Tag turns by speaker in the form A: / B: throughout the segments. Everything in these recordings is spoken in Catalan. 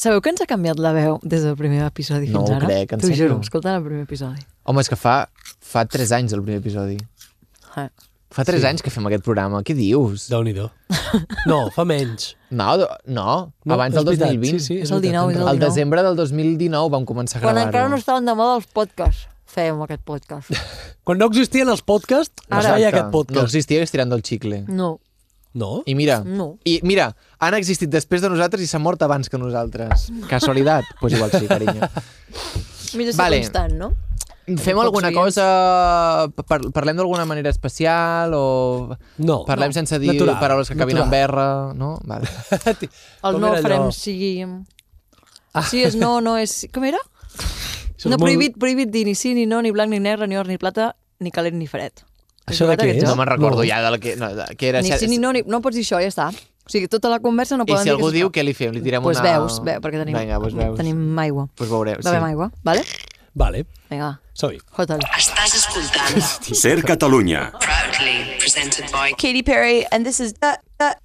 A: Sabeu que ens ha canviat la veu des del primer episodi
B: No
A: fins
B: ho
A: ara?
B: crec, en
A: T'ho
B: sèrio?
A: juro, escoltant el primer episodi.
B: Home, és que fa, fa 3 anys el primer episodi.
A: Eh.
B: Fa 3
C: Sí.
B: sí. anys que fem aquest programa, què dius?
C: déu nhi No, fa menys.
B: No, do- no, no abans
C: és
B: del
C: veritat,
B: 2020.
C: Sí, sí,
A: És el 19,
C: veritat, tens
A: és el
C: raó.
B: Al desembre del 2019 vam començar a
A: Quan
B: gravar-ho.
A: encara no estaven de moda els podcasts, fèiem aquest podcast.
C: Quan no existien els podcasts, no es
A: Ara.
C: feia
B: Exacte.
C: aquest
B: No
C: podcast.
B: existia Estirant del Xicle.
A: No,
C: No?
B: I mira,
A: No.
B: i mira, han existit després de nosaltres i s'han mort abans que nosaltres. Casualitat? Doncs pues igual sí, carinyo.
A: millor ser
B: Vale.
A: constant, no?
B: Fem
A: Pocs
B: alguna
A: oients.
B: cosa... Par parlem d'alguna manera especial o...
C: No.
B: Parlem
C: No.
B: sense dir
C: Natural,
B: paraules que acabin amb
C: natural.
B: berra, no? Vale.
A: El
C: Com
A: no
C: era
A: el farem
C: allò?
A: sigui... Si és no, no és... Com era?
C: Això és
A: no,
C: molt-
A: prohibit, prohibit dir ni sí, ni no, ni blanc, ni negre, ni or, ni plata, ni calent, ni fred. Has
C: Això de
A: jugat
C: què
A: aquest
C: és?
B: No
A: joc?
B: me'n recordo
C: No.
B: ja del que, no, de, que era...
A: Ni sí, ni no, ni... no pots dir això, ja està. O sigui, tota la conversa no
B: I
A: poden
B: si
A: dir...
B: algú
A: que
B: diu, què li fem? Li tirem
A: Doncs
B: una...
A: veus, ve, perquè tenim,
B: Vinga, doncs veus.
A: tenim aigua.
B: Pues veureu,
A: Bevem
B: sí.
A: aigua, vale?
C: Vale,
A: Vinga,
C: som-hi.
A: hotel.
D: Estàs escoltant
E: Ser Catalunya.
D: Proudly presented by
F: Katy Perry, and this is the, the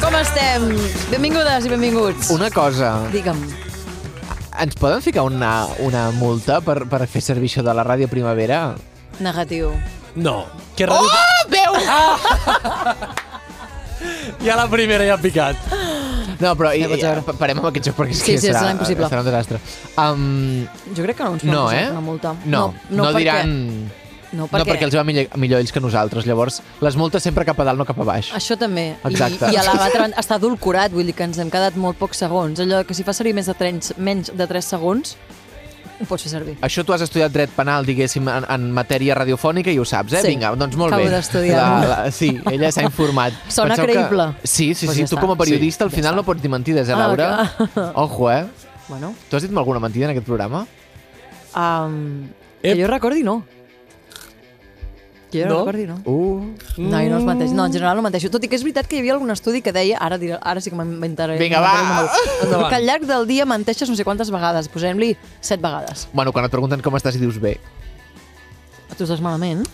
A: Com estem? Benvingudes i benvinguts.
B: Una cosa,
A: Digue'm,
B: ens poden ficar una, una multa per, per fer servir això de la ràdio primavera?
A: negatiu.
C: No. Que ràdio... Oh, veu! Ah! ja la primera ja ha picat.
B: No, però i,
A: Ja pots
B: i,
A: veure.
B: pa- parem amb aquest joc perquè és
A: Sí,
B: que
A: sí,
B: serà,
A: serà impossible.
B: serà un desastre. Um,
A: Jo crec que no ens
B: no,
A: posar
B: eh?
A: una multa.
B: No, no, no
A: perquè-
B: diran...
A: No,
B: Per no,
A: perquè,
B: perquè els va millor, millor ells que nosaltres. Llavors, les multes sempre cap a dalt, no cap a baix.
A: Això també.
B: Exacte.
A: I, i a l'altre banda està adulcorat, vull dir que ens hem quedat molt pocs segons. Allò que si fa servir més de 3, menys de 3 segons, ho pots fer servir.
B: Això tu has estudiat dret penal, diguéssim, en, en matèria radiofònica i ho saps, eh?
A: Sí.
B: Vinga, doncs molt
A: Acabo
B: bé.
A: d'estudiar.
B: La- la- Sí, ella s'ha informat.
A: Sona creïble.
B: Que... Sí, sí,
A: Doncs
B: sí.
A: ja
B: tu
A: està.
B: com a periodista al
A: Sí, ja
B: final
A: està.
B: no pots dir mentides, eh,
A: Ah,
B: Laura?
A: clar.
B: Ojo, eh?
A: Bueno,
B: Tu has dit alguna mentida en aquest programa?
A: um, que
C: Ep.
A: jo recordi, no. Que jo
C: No?
A: recordi, no.
B: Uh.
A: No, i no es menteix. No, en general no menteixo. Tot i que és veritat que hi havia algun estudi que deia... Ara, diré, ara sí que m'inventaré.
B: Vinga, va.
A: va! Que al llarg del dia menteixes no sé quantes vegades. Posem-li set vegades.
B: Bueno, quan et pregunten com estàs i dius bé.
A: Tu estàs malament?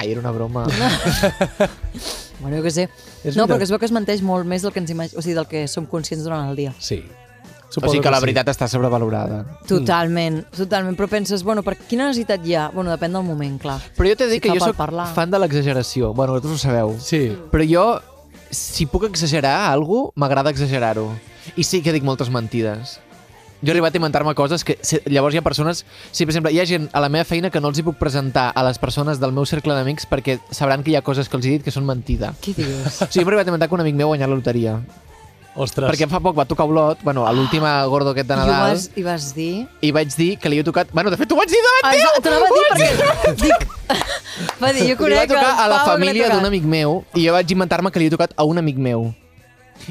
B: Ai, era una broma.
A: Bueno, jo què sé.
C: És
A: no,
C: veritat.
A: però que es veu que es menteix molt més del que, ens imag... o sigui, del que som conscients durant el dia.
C: Sí.
B: o sigui que la veritat està sobrevalorada.
A: Totalment, totalment. Però penses, bueno, per quina necessitat hi ha? Bueno, depèn del moment, clar.
B: Però jo t'he de dir
A: Si
B: que
A: fa
B: jo
A: per
B: sóc
A: parlar.
B: fan de l'exageració. Bueno, vosaltres ho sabeu.
C: Sí.
B: Però jo, si puc exagerar alguna cosa, m'agrada exagerar-ho. I sí que dic moltes mentides. Jo he arribat a inventar-me coses que... si- Llavors hi ha persones... Sí, per exemple, hi ha gent a la meva feina que no els hi puc presentar a les persones del meu cercle d'amics perquè sabran que hi ha coses que els he dit que són mentida.
A: Què dius?
B: O sigui, m'he arribat a inventar que un amic meu guanyar la loteria.
C: Ostres.
B: Perquè fa poc va tocar Olot, bueno, a l'última gordo aquest de
A: I, ho
B: Nadal,
A: vas, I vas dir...
B: i vaig dir que li havia tocat... Bueno, de fet, ho vaig dir davant
A: Ah,
B: teu!
A: T'ho anava a dir perquè... Dic... Va dir, jo
B: Li va
A: conec
B: tocar
A: el
B: a la
A: Pau que li ha
B: família
A: tocat.
B: d'un amic meu i jo vaig inventar-me que li he tocat a un amic meu.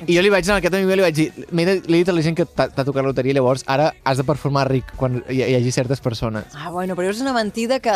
B: I jo li vaig anar a aquest amic meu i li vaig dir "M'he de- li he dit a la gent que t'ha t'ha tocat la loteria, llavors ara has de performar ric quan hi, hi hagi certes persones.
A: Ah, bueno, però és una mentida que...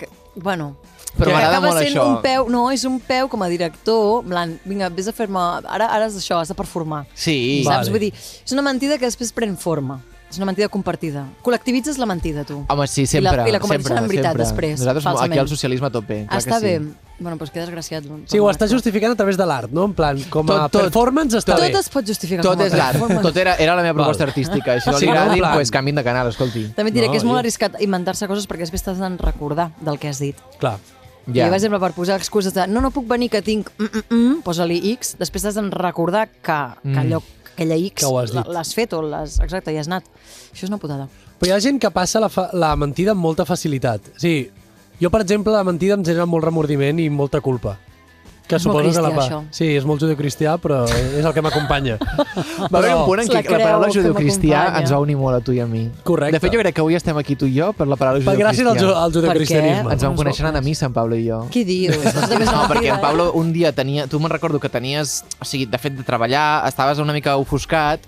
A: que bueno,
B: Però
A: que
B: m'agrada
A: acaba
B: molt
A: sent
B: això.
A: Un peu, no, és un peu com a director, en plan, vinga, vés a fer-me... Ara, ara és això, has de performar.
B: Sí,
C: Va.
A: Saps?
C: Vale.
A: Vull dir, és una mentida que després pren forma. És una mentida compartida. Col·lectivitzes la mentida, tu.
B: home, sí, sempre.
A: I la, i la converteixen
B: sempre,
A: en veritat
B: sempre.
A: després,
B: Nosaltres
A: falsament.
B: aquí al socialisme a tope. clar
A: Està
B: que sí.
A: bé. Bueno, però és que desgraciat. doncs,
C: Sí, ho
A: perdona.
C: està justificant a través de l'art, no? En plan, com a
B: Tot, tot.
C: performance està
A: Tot
C: bé.
A: es pot justificar
B: Tot
A: com a
B: és l'art,
A: performance.
B: tot era, era la meva proposta artística. Si no
C: Sí,
B: li
C: no,
B: agrada,
C: plan.
B: doncs pues, canvin de canal, escolti.
A: També et diré
C: No,
A: que és molt
C: i-
A: arriscat inventar-se coses perquè després t'has de recordar del que has dit.
C: Clar.
A: Yeah. I, per exemple, per posar excuses de no, no puc venir que tinc mm, mm, mm, posa-li X, després t'has de recordar que, que allò, aquella X
C: Mm. Que ho has
A: la-
C: dit.
A: l'has fet o l'has... Exacte, hi has anat. Això és una putada.
C: Però hi ha gent que passa la, fa la mentida amb molta facilitat. O sigui, jo, per exemple, la mentida em genera molt remordiment i molta culpa. Que
A: És molt
C: suposo que la
A: cristià,
C: pa...
A: això.
C: Sí, és molt judeocristià, però és el que m'acompanya.
B: Va haver un punt en
A: La
B: què la,
A: creu
B: paraula
A: que
B: judeocristià
A: m'acompanya.
B: ens va unir molt a tu i a mi.
C: Correcte.
B: De fet, jo crec que avui estem aquí tu i jo per la paraula
C: Per
B: judeocristià.
C: gràcies al, ju al
B: Ens
C: judeocristianisme.
A: Ens
B: vam
A: vam
B: conèixer anant a missa, en Pablo i jo.
A: Què dius?
B: No, perquè en Pablo un dia tenia... Tu me'n recordo que tenies... O sigui, de fet, de treballar, estaves una mica ofuscat,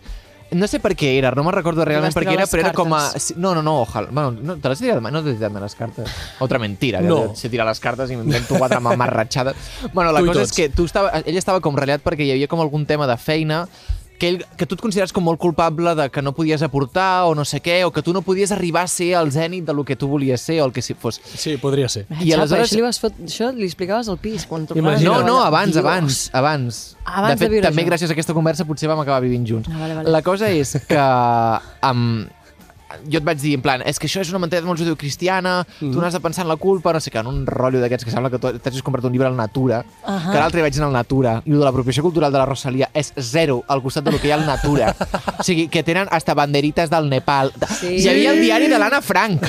B: No sé per què era, no me'n recordo realment
A: vas
B: per què
A: tirar
B: era,
A: les
B: però era com a...
A: cartes.
B: sí, No, no, no, ojalà. Bueno, no, te l'has tirat mai, no t'he tirat mai les cartes. Otra mentira,
C: No.
B: no. que sé tirar les cartes i m'invento quatre mamarratxades. Bueno, la
C: Tu i
B: cosa és
C: tots.
B: que tu estava, ell estava com ratllat perquè hi havia com algun tema de feina que, ell, que tu et consideres com molt culpable de que no podies aportar o no sé què, o que tu no podies arribar a ser el zènit del que tu volies ser o el que si fos.
C: Sí, podria ser.
A: Ah,
B: I
A: xapa,
B: aleshores-
A: Això li, vas fot... això li explicaves al pis. Quan tornaves a
B: No,
C: Imagina't.
B: no,
A: treballar.
B: abans,
A: Dios.
B: abans, abans.
A: Abans de
B: de fet,
A: viure
B: també
A: jo.
B: gràcies a aquesta conversa potser vam acabar vivint junts.
A: Ah, vale, vale.
B: La cosa és que amb, jo et vaig dir, en plan, és que això és una mentida molt judeocristiana, mm. tu n'has de pensar en la culpa, no sé què, en un rotllo d'aquests que sembla que tu t'hagis comprat un llibre al Natura, uh
A: Ahà.
B: -huh. que l'altre vaig anar al Natura, i el de l'apropiació cultural de la Rosalia és zero al costat del que hi ha al Natura. o sigui, que tenen hasta banderites del Nepal.
A: Sí.
B: Hi havia el diari de l'Anna Frank.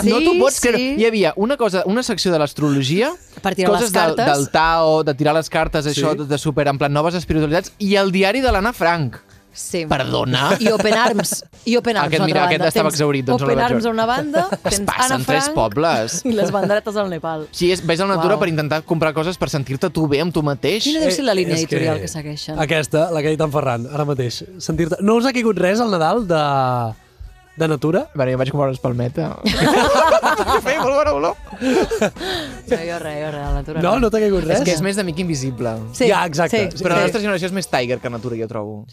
A: Sí,
B: no t'ho pots
A: sí.
B: creure. Hi havia una, cosa, una secció de l'astrologia
A: Per tirar les
B: coses del,
A: cartes.
B: del Tao, de tirar les cartes, això,
C: Sí.
B: de, de super, en plan, noves espiritualitats, i el diari de l'Anna Frank.
A: Sí.
B: Perdona?
A: I Open Arms. I Open Arms,
B: Aquest,
A: a l'altra
B: mira,
A: banda.
B: aquest estava
A: Tens
B: exhaurit, doncs no
A: Open
B: l'he
A: Arms
B: vist.
A: a una banda,
B: Es
A: tens Anna
B: passen
A: Frank...
B: tres pobles.
A: I les banderetes al Nepal.
B: Sí, és, ves al Natura
A: Uau.
B: per intentar comprar coses per sentir-te tu bé amb tu mateix.
A: Quina deu ser la
B: Eh,
A: línia
C: És
A: editorial que segueixen?
C: Aquesta, la que ha dit en Ferran, ara mateix. Sentir-te... No us ha caigut res al Nadal de, de natura?
B: Bueno, jo vaig comprar una espalmeta. Que Feia molt bona olor.
A: No, jo res, jo res, a la natura.
C: No, no t'ha caigut res?
B: És
A: Eh?
B: que és més d'amic invisible.
A: Sí,
C: Ja, exacte.
A: sí.
B: Però la
C: Sí.
B: nostra generació és més Tiger que Natura, jo trobo.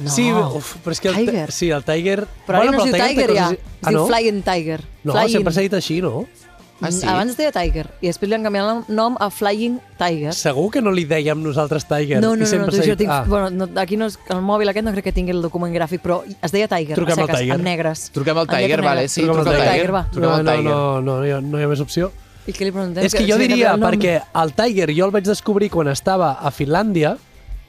A: No.
C: Sí, uf, però és que el, Ti-
A: Tiger.
C: sí, el Tiger...
A: Però ara no es diu
C: el té
A: Tiger, ja.
C: coses-
A: Es
C: Ah, no?
A: diu Flying Tiger.
C: No,
A: Flying.
C: sempre s'ha dit així, no?
B: Ah, sí?
A: Abans es deia Tiger. I després li han canviat el nom a Flying Tiger.
C: Segur que no li dèiem nosaltres Tiger.
A: No, no,
C: i
A: no, no
C: sempre s'ha
A: jo
C: dit-
A: tinc...
C: Ah,
A: Bueno, no, aquí no és, el mòbil aquest no crec que tingui el document gràfic, però es deia Tiger,
C: Truquem
A: a
C: al
A: seques,
C: Tiger.
A: en negres.
B: Truquem al
A: En
B: Tiger,
A: lletra
B: vale,
A: negra.
B: sí, truquem al Tiger.
A: Tiger, va.
B: truquem al
C: no,
B: Tiger.
C: No, no, no, no, hi ha- no hi ha més opció.
A: I què li preguntem?
C: És que jo
A: si li
C: diria,
A: canvia el nom.
C: perquè el Tiger jo el vaig descobrir quan estava a Finlàndia,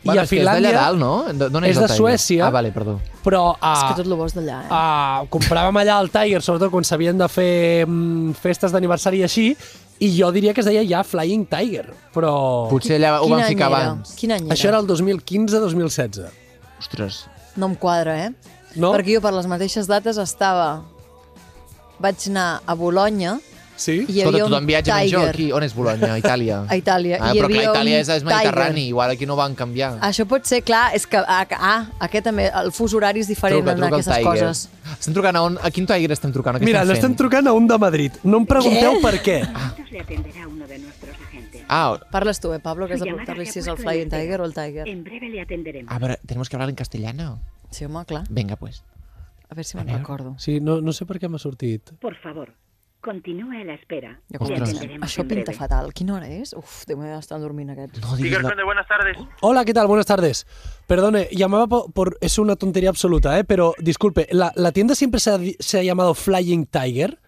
B: Bueno,
C: i a
B: és que és d'allà
C: Finlàndia,
B: dalt, no? D- D'on
C: és
B: el
C: de
B: Tiger?
C: Suècia.
B: Ah, vale, perdó.
C: però a,
A: És que tot lo bo és d'allà,
B: Ah,
A: eh?
C: uh, compràvem allà el Tiger, sobretot quan s'havien de fer mm, festes d'aniversari i així, i jo diria que es deia ja Flying Tiger, però...
B: Potser allà
A: Oh,
B: ho
A: Quin
B: van
A: any
B: ficar
A: era?
B: abans.
A: Quin any era?
C: Això era el 2015-2016.
B: Ostres.
A: No em quadra, eh?
C: No?
A: Perquè jo per les mateixes dates estava... Vaig anar a Bolonya,
C: Sí?
A: hi havia
B: Escolta,
A: un
B: tothom viatja menys jo
A: Tiger.
B: aquí. On és Bologna? A Itàlia.
A: A Itàlia.
B: Ah,
A: Hi
B: però clar,
A: havia
B: Itàlia
A: un
B: és, és mediterrani,
A: Tiger. Ah,
B: igual aquí no van canviar.
A: Això pot ser, clar, és que ah, ah, aquest també, el fus horari és diferent en
B: al
A: aquestes
B: Tiger.
A: coses.
B: Estem trucant a on? A quin Tiger estem trucant? Què
C: Mira,
B: estem
C: l'estem
B: fent?
C: trucant a un de Madrid. No em pregunteu
A: Què?
C: per què.
E: Le atenderá uno de nuestros agentes.
B: Ah,
A: Parles tu, eh, Pablo, que has
E: Su
A: de
E: llamada
A: preguntar-li
E: se ha
A: si és el
E: puesto en
A: Flying
E: espera.
A: Tiger o el Tiger.
E: En breve le atenderemos.
B: a veure, ah, tenemos que hablar en castellano?
A: Sí, home, clar.
B: Venga, pues.
A: A veure si me'n recordo.
C: Sí, no, no sé per què m'ha sortit.
E: Por favor, continúe a la espera.
A: Jo
E: Le
A: com
B: Ostres.
E: atenderemos
A: Això
E: en
A: pinta
E: breve.
A: fatal. Quina hora és? Uf, Déu meu, estan dormint aquests.
B: No diguis...
G: Miguel
B: La...
G: Conde, buenas tardes.
C: Hola, ¿qué tal? Buenas tardes. Perdone, llamaba por, por- Es una tontería absoluta, ¿eh? Pero disculpe, ¿la, la tienda siempre se ha, di- se ha llamado Flying Tiger?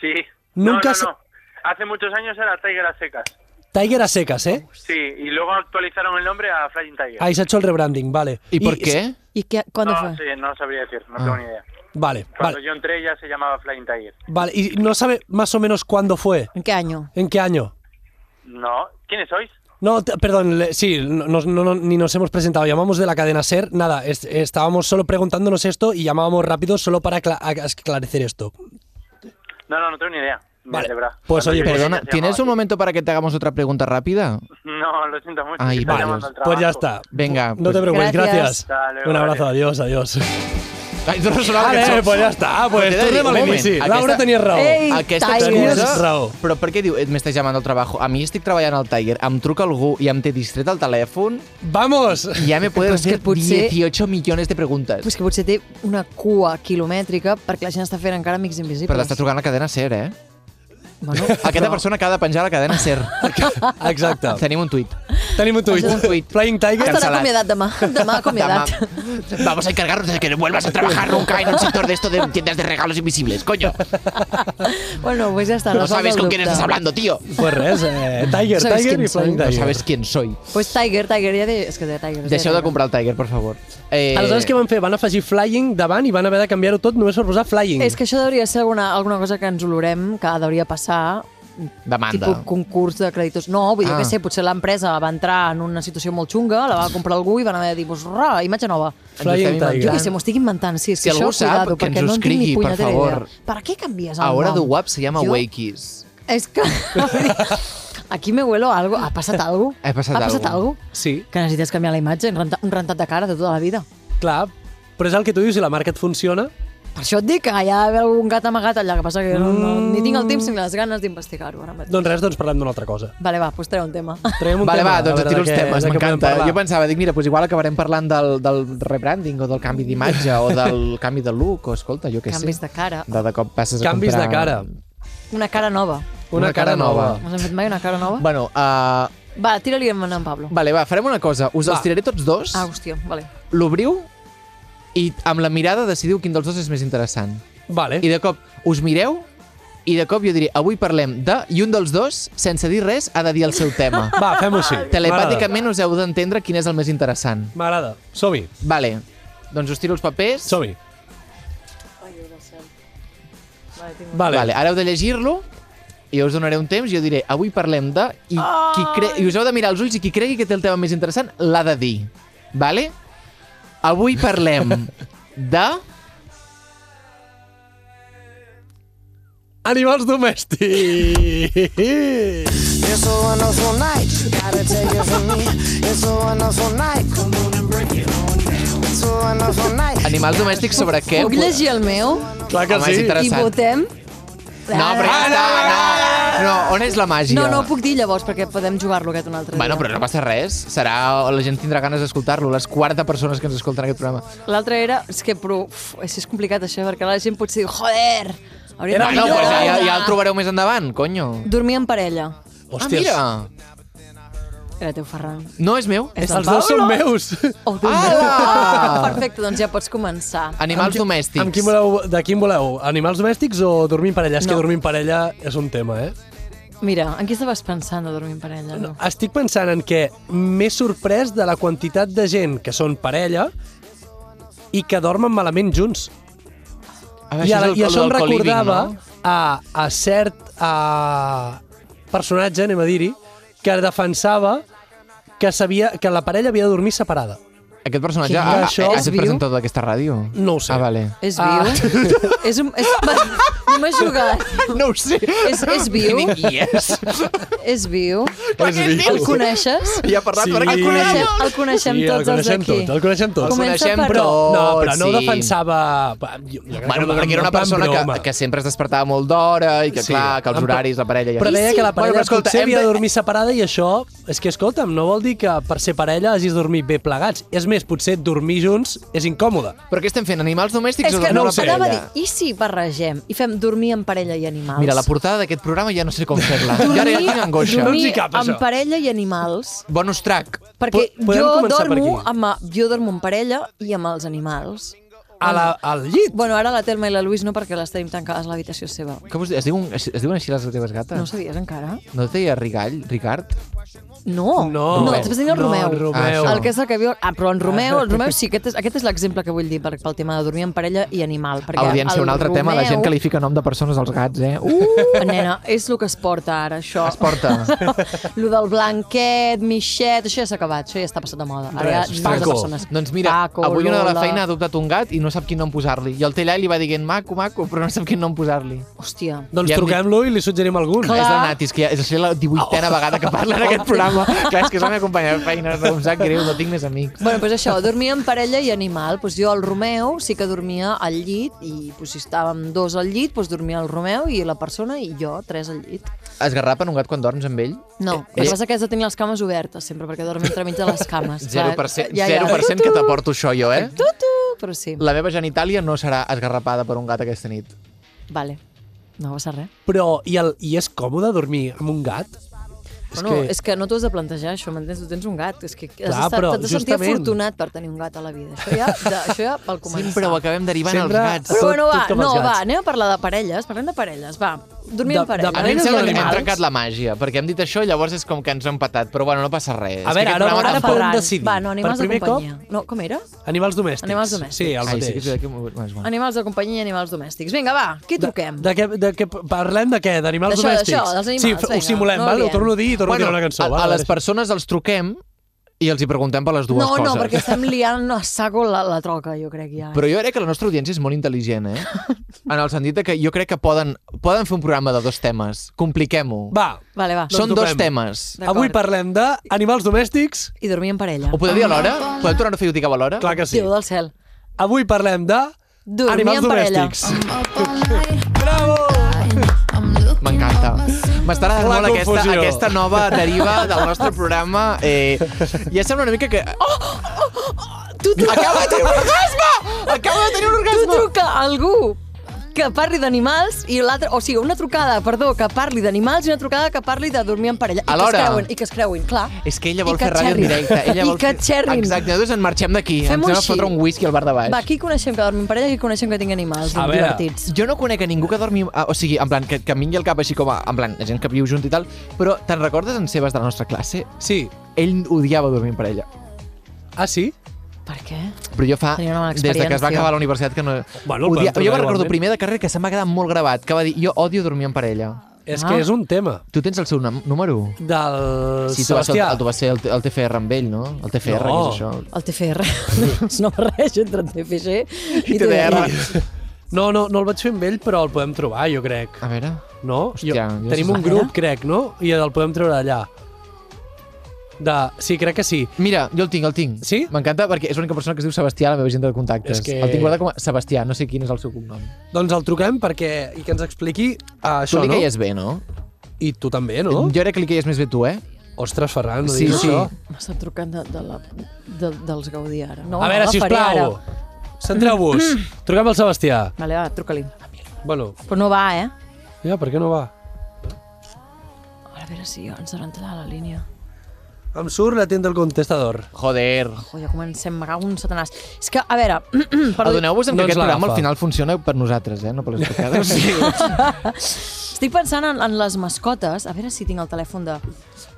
G: Sí.
C: Nunca
G: no,
C: se-
G: no, no. Hace muchos años era Tiger a secas.
C: Tiger a secas, ¿eh?
G: Sí, y luego actualizaron el nombre a Flying Tiger.
C: Ahí se ha hecho el rebranding, vale.
B: ¿Y por qué?
A: I què, quan
G: no,
A: fa?
G: sí, no sabría decir, no tengo ni idea.
C: Vale, Ah,
G: Cuando
C: vale.
G: yo entré ya se llamaba Flying Tiger.
C: Vale, ¿y no sabe más o menos cuándo fue?
A: En què any?
C: ¿En qué año?
G: No, ¿quiénes sois?
C: No, te- perdón, le- sí, no, no- no- ni nos hemos presentado. Llamamos de la cadena Ser. Nada, es- estábamos solo preguntándonos esto y llamábamos rápido solo para acla- a- esclarecer esto.
G: No, no, no tengo ni idea. de
C: Vale.
G: verdad.
C: Pues,
G: Cuando
C: oye,
G: yo llegué
B: Perdona,
G: ya se
B: ¿tienes un
G: llamaba
B: momento para que te hagamos otra pregunta rápida?
G: así. No, lo siento mucho.
B: Ay,
G: que está
B: vale.
G: llamando al
C: Pues ya
G: trabajo.
C: está.
B: Venga,
C: No
B: pues-
C: te preocupes, gracias.
A: Gracias.
G: Hasta luego,
C: Un abrazo, adiós, adiós.
B: Ai, no sonava
C: Vale,
B: cançó.
C: pues ja està, pues
B: Però t'he de dir,
C: tornem a
B: un moment,
C: l'inici. Laura, tenies raó.
A: Ei,
B: aquesta
A: Tiger.
B: excusa...
C: Tenies raó.
B: Però per què diu, "Eh, m'estàs llamant al treball? A mi estic treballant al Tiger, em truca algú i em té distret el telèfon
C: ¡Vamos!
B: i ja me pueden
A: Però és que
B: hacer
A: potser-
B: 18 millones de preguntes.
A: Pues que potser té una cua quilomètrica perquè la gent està fent encara amics invisibles.
B: Però l'està trucant la cadena SER, eh?
A: Bueno,
B: Aquesta
A: però-
B: persona que ha de penjar la cadena SER.
C: Exacte.
B: Tenim un tuit.
C: Tenim un tuit.
B: Un tuit.
C: Flying Tiger.
A: Estarà
B: Cancel·lat.
A: acomiadat demà. Demà acomiadat.
B: Dama, Vamos a encargarnos de que no vuelvas a trabajar nunca en un sector de esto de tiendas de regalos invisibles, coño.
A: Bueno, pues ja està.
B: No
A: resolt
B: sabes
A: el
B: con quién
A: dubte.
B: estás hablando, tío.
C: Pues res, eh, Tiger,
A: Sabes
C: Tiger
A: quién
C: i Flying
A: soy.
C: Tiger.
B: No sabes quién soy.
A: Pues Tiger, Tiger, ja de... És que de Tiger. es deia
B: Deixeu de
A: Tiger.
B: comprar el Tiger, per favor. Eh,
C: Aleshores, què van fer? Van afegir Flying davant i van haver de canviar-ho tot només per posar Flying.
A: És que això hauria de ser alguna, alguna cosa que ens olorem, que hauria passar,
B: Demanda.
A: tipus concurs de creditors. No, vull dir,
B: Ah.
A: que sé, potser l'empresa va entrar en una situació molt xunga, la va comprar algú i van haver de dir, pues, ra, imatge nova.
B: Ens ho
C: Flying
B: estem
C: Tiger.
A: Jo
B: inventant.
A: què sé, m'ho estic inventant, sí, és
B: Si
A: que això,
B: algú sap,
A: cuidado,
B: que ens
A: perquè
B: ho
A: no en tinc ni
B: escrigui, per
A: punyetera
B: favor.
A: idea. Per què canvies el
B: Ahora
A: nom?
B: de WAP se llama
A: Jo-
B: Wakis.
A: És que... Aquí me huelo algo. Ha passat algo?
B: Ha passat
A: ha passat
B: algo.
A: algo?
C: Sí,
A: Que necessites canviar la imatge, un rentat, un rentat de cara de tota la vida.
C: clar, Però és el que tu dius, si la marca et funciona...
A: Per això et dic que hi ha d'haver algun gat amagat allà, que passa que no, no, ni tinc el temps ni les ganes d'investigar-ho ara mateix.
C: Doncs res, doncs parlem d'una altra cosa.
A: Vale, va, pues treu un tema.
C: Traiem un
B: Vale,
C: tema,
B: va,
C: a
B: doncs
C: veure
B: tiro els
C: de què-
B: temes,
C: de què podem
B: m'encanta.
C: parlar.
B: Jo pensava, dic, mira, doncs igual acabarem parlant del, del rebranding o del canvi d'imatge o del canvi de look o, escolta, jo què sé.
A: Canvis de cara.
B: De, de cop passes
C: Canvis
B: a
C: de
B: comprar...
C: cara.
A: Una cara nova.
C: Una,
B: Una
C: cara,
B: cara
C: nova.
B: nova.
A: No s'han fet mai una cara nova?
B: Bueno, uh,
A: Va, tira-li amb en Pablo.
B: vale, va, farem una cosa. Us
C: Va.
B: els tiraré tots dos,
A: Ah, hòstia, vale.
B: l'obriu i amb la mirada decidiu quin dels dos és més interessant.
C: Vale.
B: I de cop us mireu i de cop jo diré, avui parlem de... I un dels dos, sense dir res, ha de dir el seu tema.
C: Va, fem-ho així.
B: Telepàticament us heu d'entendre quin és el més interessant.
C: M'agrada. M'agrada. Som-hi.
B: Vale, doncs us tiro els papers.
C: Som-hi. Vale.
B: Vale, ara heu de llegir-lo i jo us donaré un temps, jo diré, avui parlem de... I, qui cre... I us heu de mirar els ulls i qui cregui que té el tema més interessant l'ha de dir. Vale? Avui parlem de...
C: Animals domèstics!
H: It's a wonderful night. Gotta take it from me. It's a wonderful night. Come on and break it on down. It's a wonderful night.
B: Animals domèstics sobre què?
A: Puc llegir el meu
C: Clar que
B: Home, és
C: sí.
B: Eh, interessant.
A: i votem? Ah,
B: No, però ja està, no. No, on és la màgia?
A: No, no ho puc dir llavors, perquè podem jugar-lo aquest un altre
B: Bueno,
A: dia.
B: però no passa res. Serà... La gent tindrà ganes d'escoltar-lo. Les quarta persones que ens escolten aquest programa.
A: L'altre era... És que, però... Uf, és, que és complicat això, perquè la gent potser diu, joder! hauria
C: Era
A: de-
B: No,
C: millor.
B: pues ja, ja, ja el trobareu més endavant, conyo.
A: Dormir en parella.
C: Hòsties,
B: Ah, mira!
A: Era teu, Ferran.
B: No és meu?
A: És
C: Els dos són meus.
A: Oh, Déu
B: Ala!
A: meu. Perfecte, doncs ja pots començar.
B: Animals domèstics.
C: Amb quin voleu, de quin voleu? Animals domèstics o dormir en parella? És
A: No.
C: que dormir en parella és un tema, eh?
A: Mira, en qui estaves pensant de dormir en parella? No.
C: Estic pensant en que m'he sorprès de la quantitat de gent que són parella i que dormen malament junts.
B: veure,
C: I,
B: és
C: ara,
B: el-
C: i això em
B: el co-living,
C: recordava
B: no?
C: a, a cert a, personatge, anem a dir-hi, que defensava que, sabia, que la parella havia de dormir separada.
B: Aquest personatge
A: Quin
B: ha, ha,
A: això?
B: ha
A: És
B: estat
A: viu?
B: presentador d'aquesta ràdio?
C: No ho sé.
B: Ah, vale.
A: És
C: Ah.
A: viu? és un... És, només jugat.
B: No ho sé.
A: És, és viu?
B: Yes.
A: És viu?
B: És viu.
A: El coneixes?
B: Ja ha parlat
C: Sí.
B: per
A: El
B: aquí.
A: coneixem, el coneixem
C: sí,
A: tots
C: el coneixem
A: els d'aquí.
C: tot, el coneixem tot.
A: El Comença
B: coneixem,
A: per-
C: però, no, però no
B: sí.
C: ho defensava... va, Jo, jo crec
B: Bueno,
C: que
B: perquè era una
C: en plan
B: persona que,
C: broma.
B: que sempre es despertava molt d'hora i que, sí.
C: Sí.
B: clar, que els
C: En pla-
B: horaris, la parella... Ja...
C: Però deia que la
B: Bueno, però
C: parella bueno,
B: escolta,
C: potser
B: hem
C: havia de
B: de-
C: dormir separada i això, és que escolta'm, no vol dir que per ser parella hagis dormit bé plegats. És més, potser dormir junts és incòmode.
B: Però què estem fent? Animals domèstics
A: És
B: o
A: que
B: dormir
A: no
B: una
C: ho sé.
A: anava a dir,
B: parella?
A: i si barregem i fem dormir en parella i animals?
B: Mira, la portada d'aquest programa ja no sé com fer-la. Jo ara ja tinc angoixa.
C: No ens
A: Dormir
C: hi cap,
A: en
C: això.
A: parella i animals,
B: Bonus track.
A: perquè
C: Po- podem
A: jo
C: començar per
A: dormo,
C: aquí.
A: amb, jo dormo en parella i amb els animals.
C: A la, al llit.
A: Bueno, ara la Telma i la Luis no, perquè les tenim tancades a l'habitació seva.
B: Com us, es, diuen, es, es diuen així les teves gates?
A: No ho sabies encara?
B: No et deia Rigall, Ricard?
A: No,
C: No.
A: no estàs dient el
C: No,
A: Romeu.
C: el Romeu.
A: El que és el que viu... Ah, però en Romeu, el Romeu sí, aquest és, aquest és l'exemple que vull dir per, pel tema de dormir en parella i animal. Perquè
B: Audiència,
A: el
B: un altre
A: Romeu,
B: tema, la gent que li fica nom de persones als gats, eh? Uh!
A: Uh, nena, és el que es porta ara, això.
B: Es porta.
A: Lo del blanquet, mixet, això ja s'ha acabat, això ja està passat de moda. Ara
C: Res,
A: hi ha milers de
C: Paco.
A: persones.
B: Doncs mira,
A: Paco,
B: avui una de la
A: Lola.
B: feina ha adoptat un gat i no sap quin nom posar-li. I el té allà i li va dient maco, maco, però no sap quin nom posar-li.
A: Hòstia.
C: Doncs
B: ja hem dit-
C: truquem-lo i li suggerim algun.
A: Clar.
B: És la Natis, que ja és la 18a vegada que parla en aquest programa. Clar, és que és la meva companya de feina, no em sap greu, no tinc més amics.
A: Bueno, doncs això, dormia en parella i animal. Doncs jo, el Romeu, sí que dormia al llit i doncs, si estàvem dos al llit, doncs dormia el Romeu i la persona i jo, tres al llit.
B: Esgarrapen un gat quan dorms amb ell?
A: No,
B: Eh,
A: el que passa que has de tenir les cames obertes sempre, perquè dorm entremig de les cames.
B: 0%, 0% que t'aporto això jo, eh?
A: Tutu, però sí.
B: La meva genitàlia no serà esgarrapada per un gat aquesta nit.
A: Vale. No passa res.
C: Però, i, el, i és còmode dormir amb un gat?
A: És bueno, que... és que no t'ho has de plantejar, això, m'entens? Tu tens un gat. És que has
C: Clar,
A: d'estar-
C: però
A: t'has de sentir
C: justament-
A: afortunat per tenir un gat a la vida. Això ja, de, això ja pel començar.
B: Sempre ho acabem derivant als
C: Sempre-
B: gats.
A: Però bueno,
C: Tot-
A: va,
C: tot com
A: no,
C: els gats.
A: va, anem a parlar de parelles. Parlem de parelles, va. Dormir
C: De-
A: en parella.
C: de
B: A mi em
C: Parelles
B: sembla
C: o
B: que hem
C: animals?
B: trencat la màgia, perquè hem dit això i llavors és com que ens ho hem empatat, però bueno, no passa res.
C: A veure,
B: És que aquest
C: ara-
B: programa
C: ara
B: tampoc-
C: podem
A: Ferran.
C: decidir.
A: Va, no, animals
C: Per
A: de
C: primer
A: companyia. No, com era?
C: Animals domèstics.
A: Animals domèstics.
C: Sí, el
B: Ai,
C: mateix.
B: sí que és veritat que... Bueno, és bueno.
A: Animals de companyia i animals domèstics. Vinga, va, qui truquem?
C: De, què, de què parlem? De què? D'animals
A: D'això,
C: domèstics?
A: d'això, dels animals,
C: sí, f- ho
A: vinga,
C: simulem,
A: no ho
C: val? Ho
A: diem.
C: torno a dir i torno bueno, a tirar una cançó.
B: a,
C: va,
B: a les
C: veure.
B: persones els truquem i els hi preguntem per les dues
A: no,
B: coses.
A: no, perquè estem liant a saco la, la troca, jo crec, ja. eh.
B: Però jo crec que la nostra audiència és molt intel·ligent, eh? En el sentit de que jo crec que poden, poden fer un programa de dos temes. Compliquem-ho.
C: Va,
A: Vale, va.
B: Són
C: doncs
B: dos
C: doblem.
B: temes.
A: D'acord.
C: avui parlem d'animals domèstics.
A: I dormir en parella.
B: Ho podeu dir alhora? Podeu tornar a fer i ho dic alhora?
C: Clar que sí.
A: Déu del cel.
C: avui parlem de...
A: Dormir
C: animals
A: en parella. Ah.
C: domèstics. Bravo!
B: M'encanta. M'està agradant
C: La
B: molt aquesta,
C: confusió.
B: aquesta nova deriva del nostre programa. Eh, ja sembla una mica que... Oh,
A: Tu truca,
B: acaba de tenir un orgasme! Acaba de tenir un
A: tu
B: orgasme!
A: truca a algú que parli d'animals i l'altre... O sigui, una trucada, perdó, que parli d'animals i una trucada que parli de dormir en parella.
B: Alhora.
A: I que es creuen, i que es creuen clar.
B: És que ella
A: I
B: vol
A: que
B: fer ràdio en
A: xerrin.
B: directe. Ella
A: I
B: vol
A: que
B: fer-
A: xerrin.
B: Exacte, nosaltres en marxem d'aquí. Ens
A: Fem-ho
B: anem a
A: així.
B: fotre un whisky al bar de baix.
A: Va, aquí coneixem que dormim en parella i aquí coneixem que tingui animals
C: A veure.
A: divertits.
B: Jo no conec a ningú que dormi... ah, O sigui, en plan, que, que em vingui al cap així com a... En plan, la gent que viu junt i tal. Però te'n recordes en Sebas de la nostra classe?
C: Sí.
B: Ell odiava dormir en parella.
C: Ah, sí?
A: Per què?
B: Però jo fa...
A: Tenia una mala
B: Des de que es va
A: experiència.
B: acabar la universitat que no...
C: Bueno, el podem
B: odia... Jo
C: tornar
B: me recordo
C: igualment.
B: primer de carrer que se m'ha quedat molt gravat, que va dir, jo odio dormir en parella.
C: És
A: Ah.
C: que és un tema
B: Tu tens el seu nom, número?
C: del
B: Sí, tu vas, el,
C: Sebastià.
B: el, tu vas ser el, el TFR amb ell, no? El TFR,
C: No.
B: no. què és això?
A: El TFR. Es no barreja entre el TFG i,
B: TDR.
C: No, no, no el vaig fer amb ell, però el podem trobar, jo crec.
B: A veure...
C: No?
B: Hòstia, jo
C: tenim
B: sé-
C: un grup, crec, no? I el podem treure d'allà. De... Sí, crec que sí.
B: Mira, jo el tinc, el tinc.
C: Sí?
B: M'encanta perquè és l'única persona que es diu Sebastià a la meva agenda de contactes.
C: És que-
B: El tinc guardat com a Sebastià, no sé quin és el seu cognom.
C: Doncs el truquem perquè... i que ens expliqui uh,
B: Tu
C: això,
B: li
C: no?
B: caies bé, no?
C: I tu també, no?
B: Eh, Jo crec que li caies més bé tu, eh?
C: Ostres, Ferran, no
B: Sí,
C: diguis
B: sí.
C: això.
A: M'està trucant de, de la, de, dels Gaudí ara. No,
C: A veure,
A: no, faré
C: sisplau,
A: ara. Mm.
C: centreu-vos. Truquem al Sebastià.
A: Vale, va, truca-li.
C: Bueno,
A: Però no va, eh?
C: ja, per què no va?
A: A veure si ens han tallat la línia.
C: Em surt la tinta del contestador.
B: Joder.
A: Jo ja comencem, me cago en un satanàs. És que, a veure... perdó,
B: Adoneu-vos en
C: No
B: que aquest
C: ens
B: programa
C: l'agafa.
B: al final funciona per nosaltres, eh? No per les trucades. sí.
A: estic pensant en, en les mascotes. A veure si tinc el telèfon de...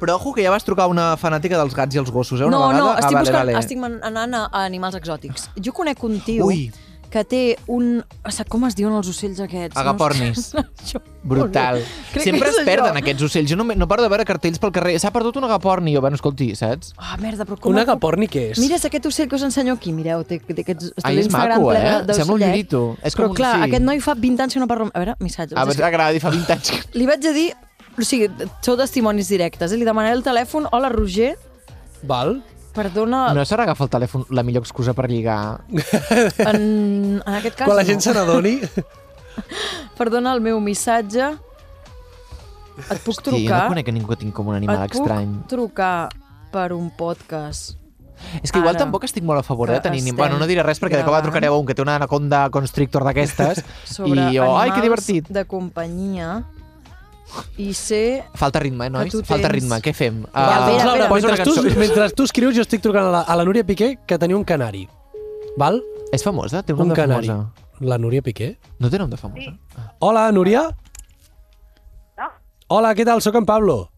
B: Però ojo que ja vas trucar una fanàtica dels gats i els gossos, eh? Una
A: no,
B: vegada.
A: no, estic
B: ah, vale,
A: buscant,
B: vale. Ah.
A: estic man- anant a, a animals exòtics. Jo conec un tio
B: Ui.
A: que té un... o sigui, Com es diuen els ocells aquests?
B: Agapornis.
A: No, sé- això,
B: Brutal.
A: Crec que
B: Sempre
A: és
B: es
A: això.
B: perden aquests ocells. Jo no, me- no paro de veure cartells pel carrer. S'ha perdut un agaporni. Jo, bueno, escolti, saps?
A: Ah, merda, però com...
C: Un
A: el puc-
C: agaporni què és?
A: Mira, és aquest ocell que us ensenyo aquí, mireu, té, té aquests... té
B: Ai, és
A: l'Instagram
B: maco,
A: ple
B: eh?
A: de-
B: Sembla un
A: d'ocellet.
B: llorito. És
A: Però
B: com un-
A: clar,
B: sí.
A: aquest noi fa 20 anys que no parla... A veure, missatge.
B: A veure, agrada, i fa 20 anys que...
A: Li vaig a dir... O sigui, sou testimonis directes. Eh? Li demanaré el telèfon. Hola, Roger.
C: Val?
A: Perdona,
B: No serà agafar el telèfon la millor excusa per lligar?
A: en, en aquest cas
C: Quan la
A: no.
C: gent se n'adoni...
A: Perdona el meu missatge. Et puc
B: Sí, jo
A: trucar?
B: no conec a ningú que tingui com un animal
A: Et puc
B: estrany.
A: trucar per un podcast.
B: És que igual
A: Ara,
B: tampoc estic molt a favor
A: que
B: eh, de tenir...
A: estem
B: Estem... Bueno, no diré res perquè de cop
A: gravant.
B: trucareu a un que té una anaconda constrictor d'aquestes
A: Sobre
B: i jo, ai,
A: animals
B: que divertit.
A: de companyia i ser...
B: Falta ritme, eh, nois?
A: tu
B: Falta
A: tens-
B: ritme, què fem? Uh,
A: Val, espera,
C: Laura,
A: espera.
B: posa una
C: mentre, tu,
B: cançó.
C: mentre tu escrius, jo estic trucant a la, a la Núria Piqué, que tenia un canari. Val?
B: És famosa? Té un,
C: Un
B: nom de
C: canari.
B: famosa?
C: La Núria Piqué?
B: No té nom de famosa?
C: Hola, Núria? Hola, què tal? Sóc en Pablo.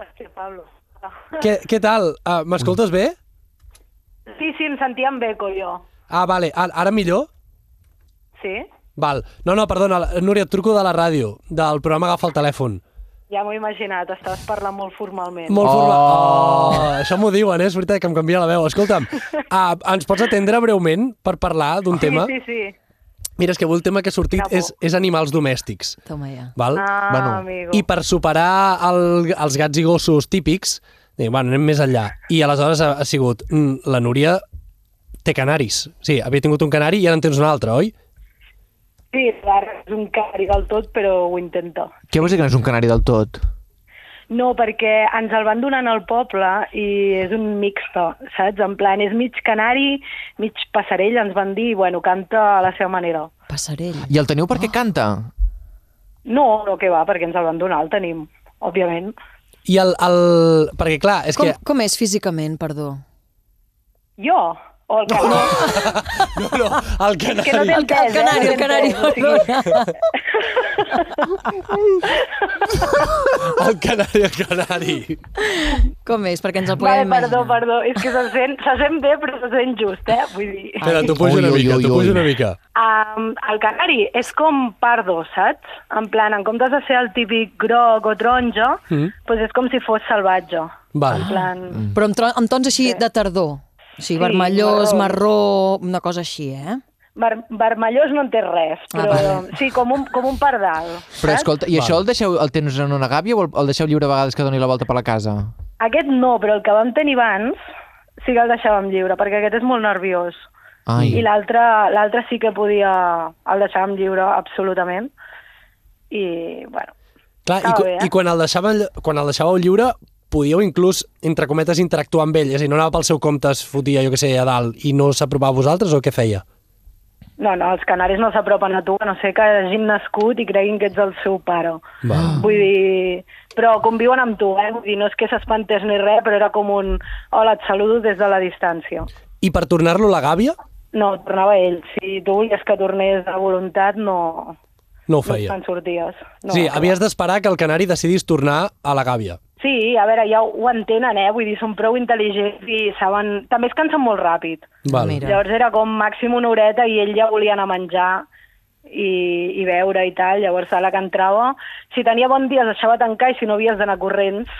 I: Hòstia, Pablo.
C: Què, què tal? Uh, M'escoltes bé?
I: Sí, sí, em sentia amb eco, jo.
C: Ah, vale. Ara, ara millor?
I: Sí?
C: Val. No, no, perdona, la- Núria, et truco de la ràdio, del programa Agafa el telèfon.
I: Ja m'ho he imaginat, estaves parlant molt formalment.
C: Molt formal. Oh. això m'ho diuen, eh? és veritat que em canvia la veu. Escolta'm, uh, ens pots atendre breument per parlar d'un
I: sí,
C: tema?
I: sí, sí.
C: Mira, és que avui el tema que ha sortit
I: Bravo.
C: és, és animals domèstics.
A: Toma ja.
C: Val?
I: Ah,
B: Bueno,
I: amigo.
C: I per superar el, els gats i gossos típics, dic, bueno, anem més enllà. I aleshores ha, ha sigut, mm, la Núria té canaris. Sí, havia tingut un canari i ara en tens un altre, oi?
I: Sí, ara és un cari del tot, però ho intento.
B: Què vols dir que no és un canari del tot?
I: No, perquè ens el van donar en el poble i és un mixto, saps? En plan, és mig canari, mig passarell, ens van dir, i, bueno, canta a la seva manera.
A: Passarell.
B: I el teniu
A: Oh.
B: perquè canta?
I: No, no, que va, perquè ens el van donar, el tenim, òbviament.
C: I el... el perquè, clar, és
A: Com,
C: que...
A: com és físicament, perdó?
I: Jo, o el canari.
C: No, no, el canari...
I: que no t'he
A: El, ca- el
I: entès,
A: canari, el
I: eh? No t'he
A: canari.
I: entès, o sigui,
A: perdona.
C: El canari, el canari.
A: Com és? Perquè ens el
I: Vale,
A: podem
I: perdó,
A: imaginar.
I: perdó, és que se sent, se sent bé però se sent just, eh? Vull dir...
C: Espera, t'ho pujo
B: Ui,
C: una
B: ui,
C: mica,
B: ui,
C: t'ho
B: ui.
C: pujo una mica.
I: Um, el canari és com pardo, saps? En plan, en comptes de ser el típic groc o taronja, mm. doncs és com si fos salvatge.
C: Val.
I: En plan...
B: Mm.
A: Però amb, tro- amb tons així de tardor. Sí,
I: Sí,
A: vermellós,
I: marró.
A: marró, una cosa així, eh?
I: Ver vermellós no en té res, però
A: vale.
I: sí, com un, com un pardal.
B: Però
I: saps?
B: escolta, i això el deixeu el tens en una gàbia o el, el deixeu lliure a vegades que doni la volta per la casa?
I: Aquest no, però el que vam tenir abans sí que el deixàvem lliure, perquè aquest és molt nerviós.
B: Ai.
I: I l'altre l'altre sí que podia... El deixàvem lliure absolutament. I, bueno,
C: Clar, i,
I: Estava
C: cu-
I: bé, eh?
C: i quan, el deixava, ll- quan el deixàveu lliure, podíeu inclús, entre cometes, interactuar amb ell? És a dir, no anava pel seu compte, es fotia, jo que sé, a dalt i no s'apropava a vosaltres o què feia?
I: no, no, els canaris no s'apropen a tu, a no sé que hagin nascut i creguin que ets el seu pare.
C: Va.
I: Vull dir... Però conviuen amb tu, eh? Vull dir, no és que s'espantés ni res, però era com un... Hola, et saludo des de la distància.
C: I per tornar-lo la gàbia,
I: No, tornava ell. Si tu volies que tornés de voluntat, no,
C: no ho
I: no
C: feia.
I: te'n sorties. No,
C: sí, havies d'esperar que el canari decidís tornar a la gàbia.
I: Sí, a veure, ja ho, ho entenen, eh? Vull dir, són prou intel·ligents i saben... També es cansen molt ràpid.
C: Val.
A: Mira.
I: Llavors era com màxim una horeta i ell ja volia anar a menjar i, i beure i tal. Llavors, a la que entrava, si tenia bon dia es deixava tancar i si no havies d'anar corrents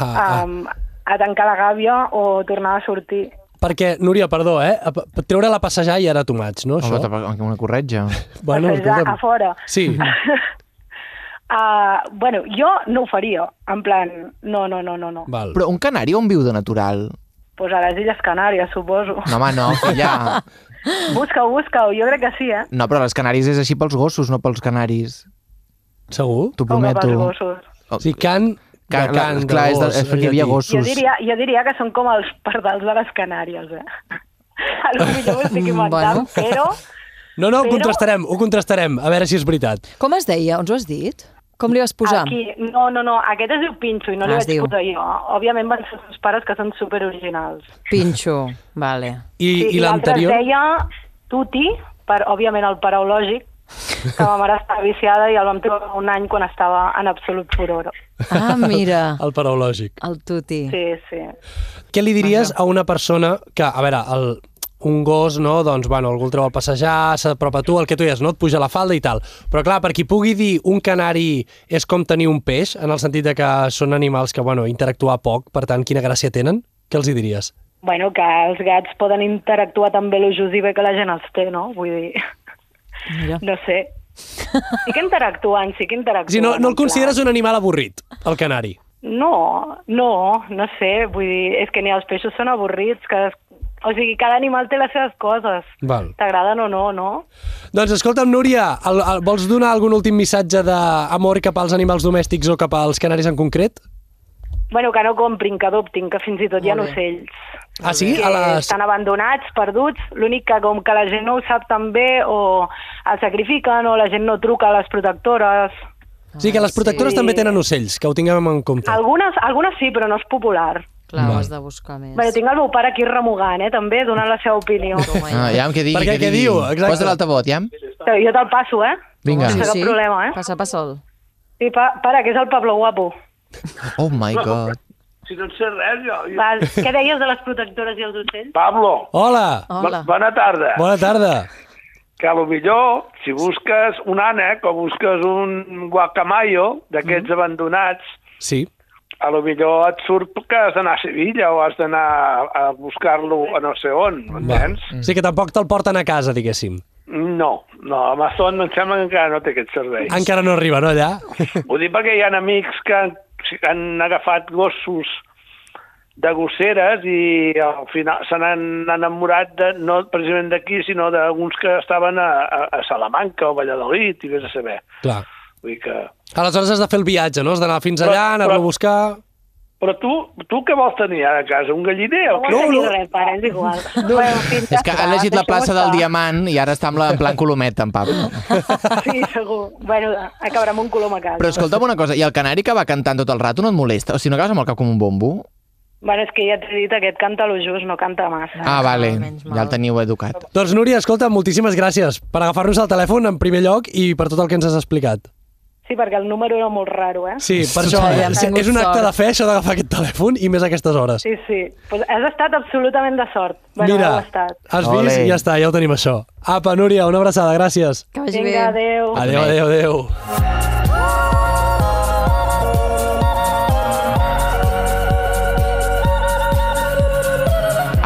C: Ah, ah.
I: a, a tancar la gàbia o tornar a sortir.
C: Perquè, Núria, perdó, eh? A- p- Treure-la a passejar ja era too much, no? Això?
B: Home, tampoc- una corretja.
C: Bueno,
I: Passejar
C: escolta'm.
I: a fora.
C: Sí.
I: Uh, bueno, jo no ho faria, en plan, no, no, no, no, no.
C: Val.
B: Però un canari on viu de natural?
I: Pues a les Illes Canàries, suposo.
B: No, home, no, filla.
I: Busca-ho, busca-ho, jo crec que sí, eh?
B: No, però les canaris és així pels gossos, no pels canaris.
C: Segur?
B: T'ho
I: Com que pels
B: prometo.
I: gossos.
B: Oh,
C: Sí, can,
B: Can-
C: de can,
B: clar,
C: de
B: és, de,
C: gos,
B: és perquè hi havia
C: llatí.
B: gossos.
I: Jo diria, jo diria que són com els pardals de les Canàries, eh? A lo millor ho estic inventant,
A: Bueno.
I: però...
C: No, no, ho
I: Però-
C: contrastarem, ho contrastarem, a veure si és veritat.
A: Com es deia? Ens ho has dit? Com li vas posar?
I: Aquí, no, no, no, aquest es diu Pinxo i no li
A: Ah, es
I: vaig
A: diu.
I: posar jo. Òbviament van ser els meus pares que són superoriginals.
A: Pinxo. Vale.
C: I,
I: Sí,
C: i
I: l'altre es
C: l'anterior...
I: deia Tuti, per, òbviament, el paraulògic, que ma mare estava viciada i el vam trobar un any quan estava en absolut furor.
A: Ah, mira.
C: El paraulògic.
A: El tuti.
I: Sí, sí.
C: Què li diries a una persona que, a veure, el, un gos, no? Doncs, bueno, algú el treu a passejar, s'apropa a tu, el que tu deies, no? Et puja la falda i tal. Però, clar, per qui pugui dir un canari és com tenir un peix, en el sentit de que són animals que, bueno, interactuar poc, per tant, quina gràcia tenen, què els hi diries?
I: Bueno, que els gats poden interactuar tan bé lo just i bé que la gent els té, no? Vull dir,
A: Mira.
I: no sé. Sí que interactuen, sí que interactuen.
C: Si no, no el
I: en plan.
C: consideres un animal avorrit, el canari.
I: No, no, no sé, vull dir, és que ni els peixos són avorrits, que... o sigui, cada animal té les seves coses.
C: Val.
I: T'agraden o no, no?
C: Doncs escolta'm, Núria, el, el, vols donar algun últim missatge d'amor cap als animals domèstics o cap als canaris en concret?
I: Bueno, que no comprin, que adoptin, que fins i tot hi ha
A: Molt bé.
I: ocells.
C: Ah, sí?
I: Que
C: A les...
I: estan abandonats, perduts, l'únic que com que la gent no ho sap tan bé o el sacrifiquen o la gent no truca a les protectores.
C: Sí, que les protectores
I: Sí.
C: també tenen ocells, que ho tinguem en compte.
I: Algunes, algunes sí, però no és popular.
A: Clar,
C: Val.
A: ho has de buscar més.
I: Bé, tinc el meu pare aquí remugant, eh, també, donant la seva opinió.
A: Com
B: Ah, ja, què digui,
C: Per
B: què
C: què, què
B: digui.
C: diu? Exacte.
B: Posa l'altavot, ja.
I: Però jo te'l passo, eh?
B: Vinga.
I: Sí,
A: Sí,
I: cap
A: sí.
I: problema, eh?
A: Passa, passa el...
I: Sí, pa, pare, que és el Pablo Guapo.
B: Oh my god.
G: Si no en sé res, jo.
I: Va, què deies de les protectores i els ocells?
J: Pablo,
C: Hola,
A: Hola.
J: bona tarda.
C: bona tarda.
J: Que a lo millor, si busques un ànec o busques un guacamayo d'aquests abandonats,
C: Sí,
J: a lo millor et surt que has d'anar a Sevilla o has d'anar a buscar-lo a no sé on, entens?
C: sí que tampoc te'l porten a casa, diguéssim.
J: No, no, Amazon em sembla que encara no té aquest servei.
C: Encara no arriba, no, allà?
J: Ho dic perquè hi ha amics que han, han agafat gossos de gosseres i al final se n'han enamorat de, no precisament d'aquí, sinó d'uns que estaven a, a, a Salamanca o Valladolid, i vés a saber.
C: Clar.
J: Vull dir que...
C: Aleshores has de fer el viatge, no? Has d'anar fins allà,
J: Però-
C: anar-lo a
J: però-
C: buscar...
J: Però tu, tu què vols tenir ara a casa? Un galliner o
I: No,
J: què?
I: no, no. Res, pare, és igual. No. Bueno, en fi, ja
B: És que ha
I: està,
B: llegit la
I: deixem-ho
B: plaça del
I: estar.
B: Diamant i ara està amb la, en plan Colometa, en Pablo.
I: Sí, segur. Bueno, acabarà amb un colom a casa.
B: Però escolta'm una cosa, i el canari que va cantant tot el rato no et molesta? O sigui, no acabes amb el cap com un bombo?
I: Bueno, és que ja t'he dit, aquest canta lo just, no canta massa.
B: Ah, vale,
A: menys mal.
B: ja el teniu educat.
C: Doncs, Núria, escolta, moltíssimes gràcies per agafar-nos el telèfon en primer lloc i per tot el que ens has explicat.
I: Sí, perquè el número era molt raro, eh?
C: Sí, per això,
A: Ai, hem
C: és
A: tingut
C: és un acte
A: sort.
C: de fe, això d'agafar aquest telèfon, i més a aquestes hores.
I: Sí, sí. Pues has estat absolutament de sort. Bueno,
C: Mira,
I: heu estat.
C: has vist?
B: Ole.
C: Ja està, ja ho tenim, això. Apa, Núria, una abraçada, gràcies.
A: Que vagi
I: Vinga,
A: bé.
I: adeu.
B: Ah.
C: Adéu, adéu, adéu.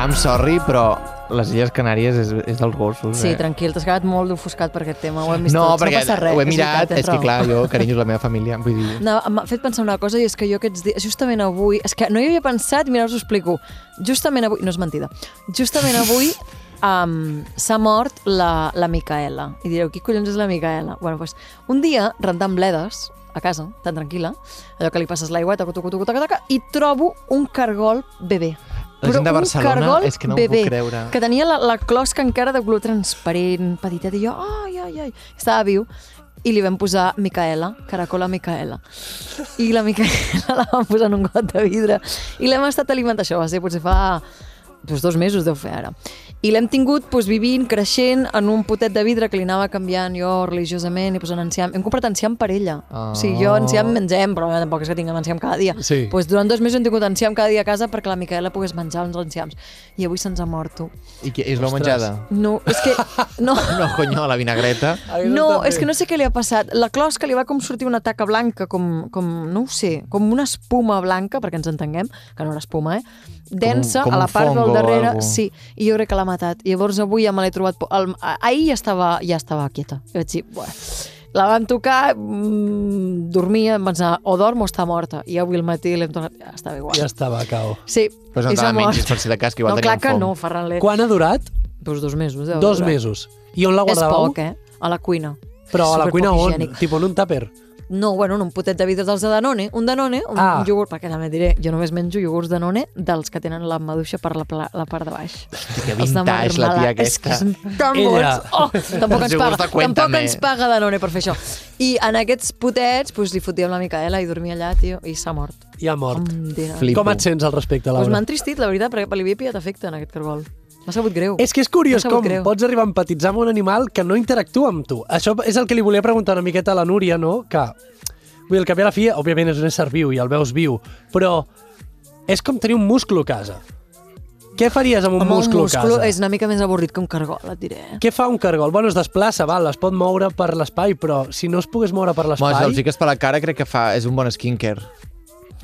B: I'm sorry, però les Illes Canàries és, és dels gossos,
A: Sí,
B: eh?
A: tranquil, t'has quedat molt ofuscat per aquest tema, ho hem vist
B: No,
A: tots, no
B: perquè
A: passa res.
B: ho he
A: és
B: mirat,
A: veritat,
B: és,
A: tens
B: que
A: raó.
B: clar, jo, carinyo, és la meva família, vull dir...
A: No, m'ha fet pensar una cosa i és que jo aquests dies, justament avui, és que no hi havia pensat, mira, us ho explico, justament avui, no és mentida, justament avui um, s'ha mort la, la Micaela. I direu, qui collons és la Micaela? Bueno, doncs, un dia, rentant bledes, a casa, tan tranquil·la, allò que li passes l'aigua, taca, taca, taca, taca, taca, i trobo un cargol bebè.
B: La gent de Barcelona,
A: un cargol
B: és que no ho puc
A: bebè,
B: creure.
A: Que tenia la, la closca encara de color transparent, petitet, i jo, ai, ai, ai, estava viu. I li vam posar Micaela, caracola Micaela. I la Micaela la vam posar en un got de vidre. I l'hem estat alimentant, això va ser potser fa doncs, dos mesos, deu fer ara. I l'hem tingut doncs, vivint, creixent, en un potet de vidre que li anava canviant jo religiosament i posant enciam. Hem comprat enciam per ella.
B: Ah.
A: O sigui, jo enciam mengem, però tampoc és que tinguem enciam cada dia.
B: Sí.
A: Doncs durant dos mesos hem tingut enciam cada dia a casa perquè la Micaela pogués menjar uns enciams. I avui se'ns ha mort, tu.
B: I que és la menjada?
A: No, és que... No,
B: No, coño, la vinagreta.
A: no, és que no sé què li ha passat. La closca li va com sortir una taca blanca, com, com no ho sé, com una espuma blanca, perquè ens entenguem, que no era espuma, eh? Densa,
K: Com- com
A: a la
K: un
A: part del
K: fongo o
A: darrere,
K: algo.
A: sí, i jo crec que l'ha matat. I llavors avui ja me l'he trobat... po- El, ahir ja estava, ja estava quieta. I vaig dir, bueno, la vam tocar, mm, dormia, em vaig anar, o dorm o està morta. I avui al matí l'hem tornat, ja estava igual.
C: Ja estava, cau.
A: Sí,
B: Però
A: i
B: no te
A: s'ha
B: la
A: mort.
B: mengis per si de cas, que igual
A: no,
B: tenia
A: clar
B: un
A: que
B: fong.
A: no, Ferran Ler.
C: Quan ha durat?
A: Doncs dos mesos. deu
C: Dos
A: durar.
C: mesos. I on la guardàveu?
A: És poc, eh? A la cuina.
C: Però a la
A: Superpoc
C: cuina on?
A: higiènic.
C: Tipo en un tàper?
A: No, bueno, en un potet de vidre dels de Danone, un Danone, un,
C: Ah.
A: ah. un iogurt, perquè també diré, jo només menjo iogurts Danone dels que tenen la maduixa per la, pla- la part de baix. Hosti,
B: que vintage, la tia aquesta.
A: És que són tan
B: Ella.
A: bons. Oh, tampoc, ens
B: Els iogurts
A: paga,
B: de Cuéntame.
A: tampoc ens paga Danone per fer això. I en aquests potets pues, li fotíem la Micaela i dormia allà, tio, i s'ha mort.
C: I ha mort.
A: Flipo.
C: Com et sents al respecte,
A: Doncs pues m'ha
C: Laura?
A: entristit, la veritat, perquè li havia pillat afecte en aquest cargol. M'ha sabut greu.
C: És que és curiós
A: M'ha
C: com
A: sabut greu.
C: pots arribar a empatitzar amb un animal que no interactua amb tu. Això és el que li volia preguntar una miqueta a la Núria, no? Que, vull dir, el cap i a la fi, òbviament, és un ésser viu i el veus viu, però és com tenir un musclo a casa. Què faries amb un
A: Home,
C: musclo
A: un
C: a casa?
A: musclo és una mica més avorrit que un cargol, et diré. eh?
C: Què fa un cargol? Bueno, es desplaça, val, es pot moure per l'espai, però si no es pogués moure per
B: Home, si el
C: l'espai...
B: fiques per la cara crec que fa... és un bon skinker.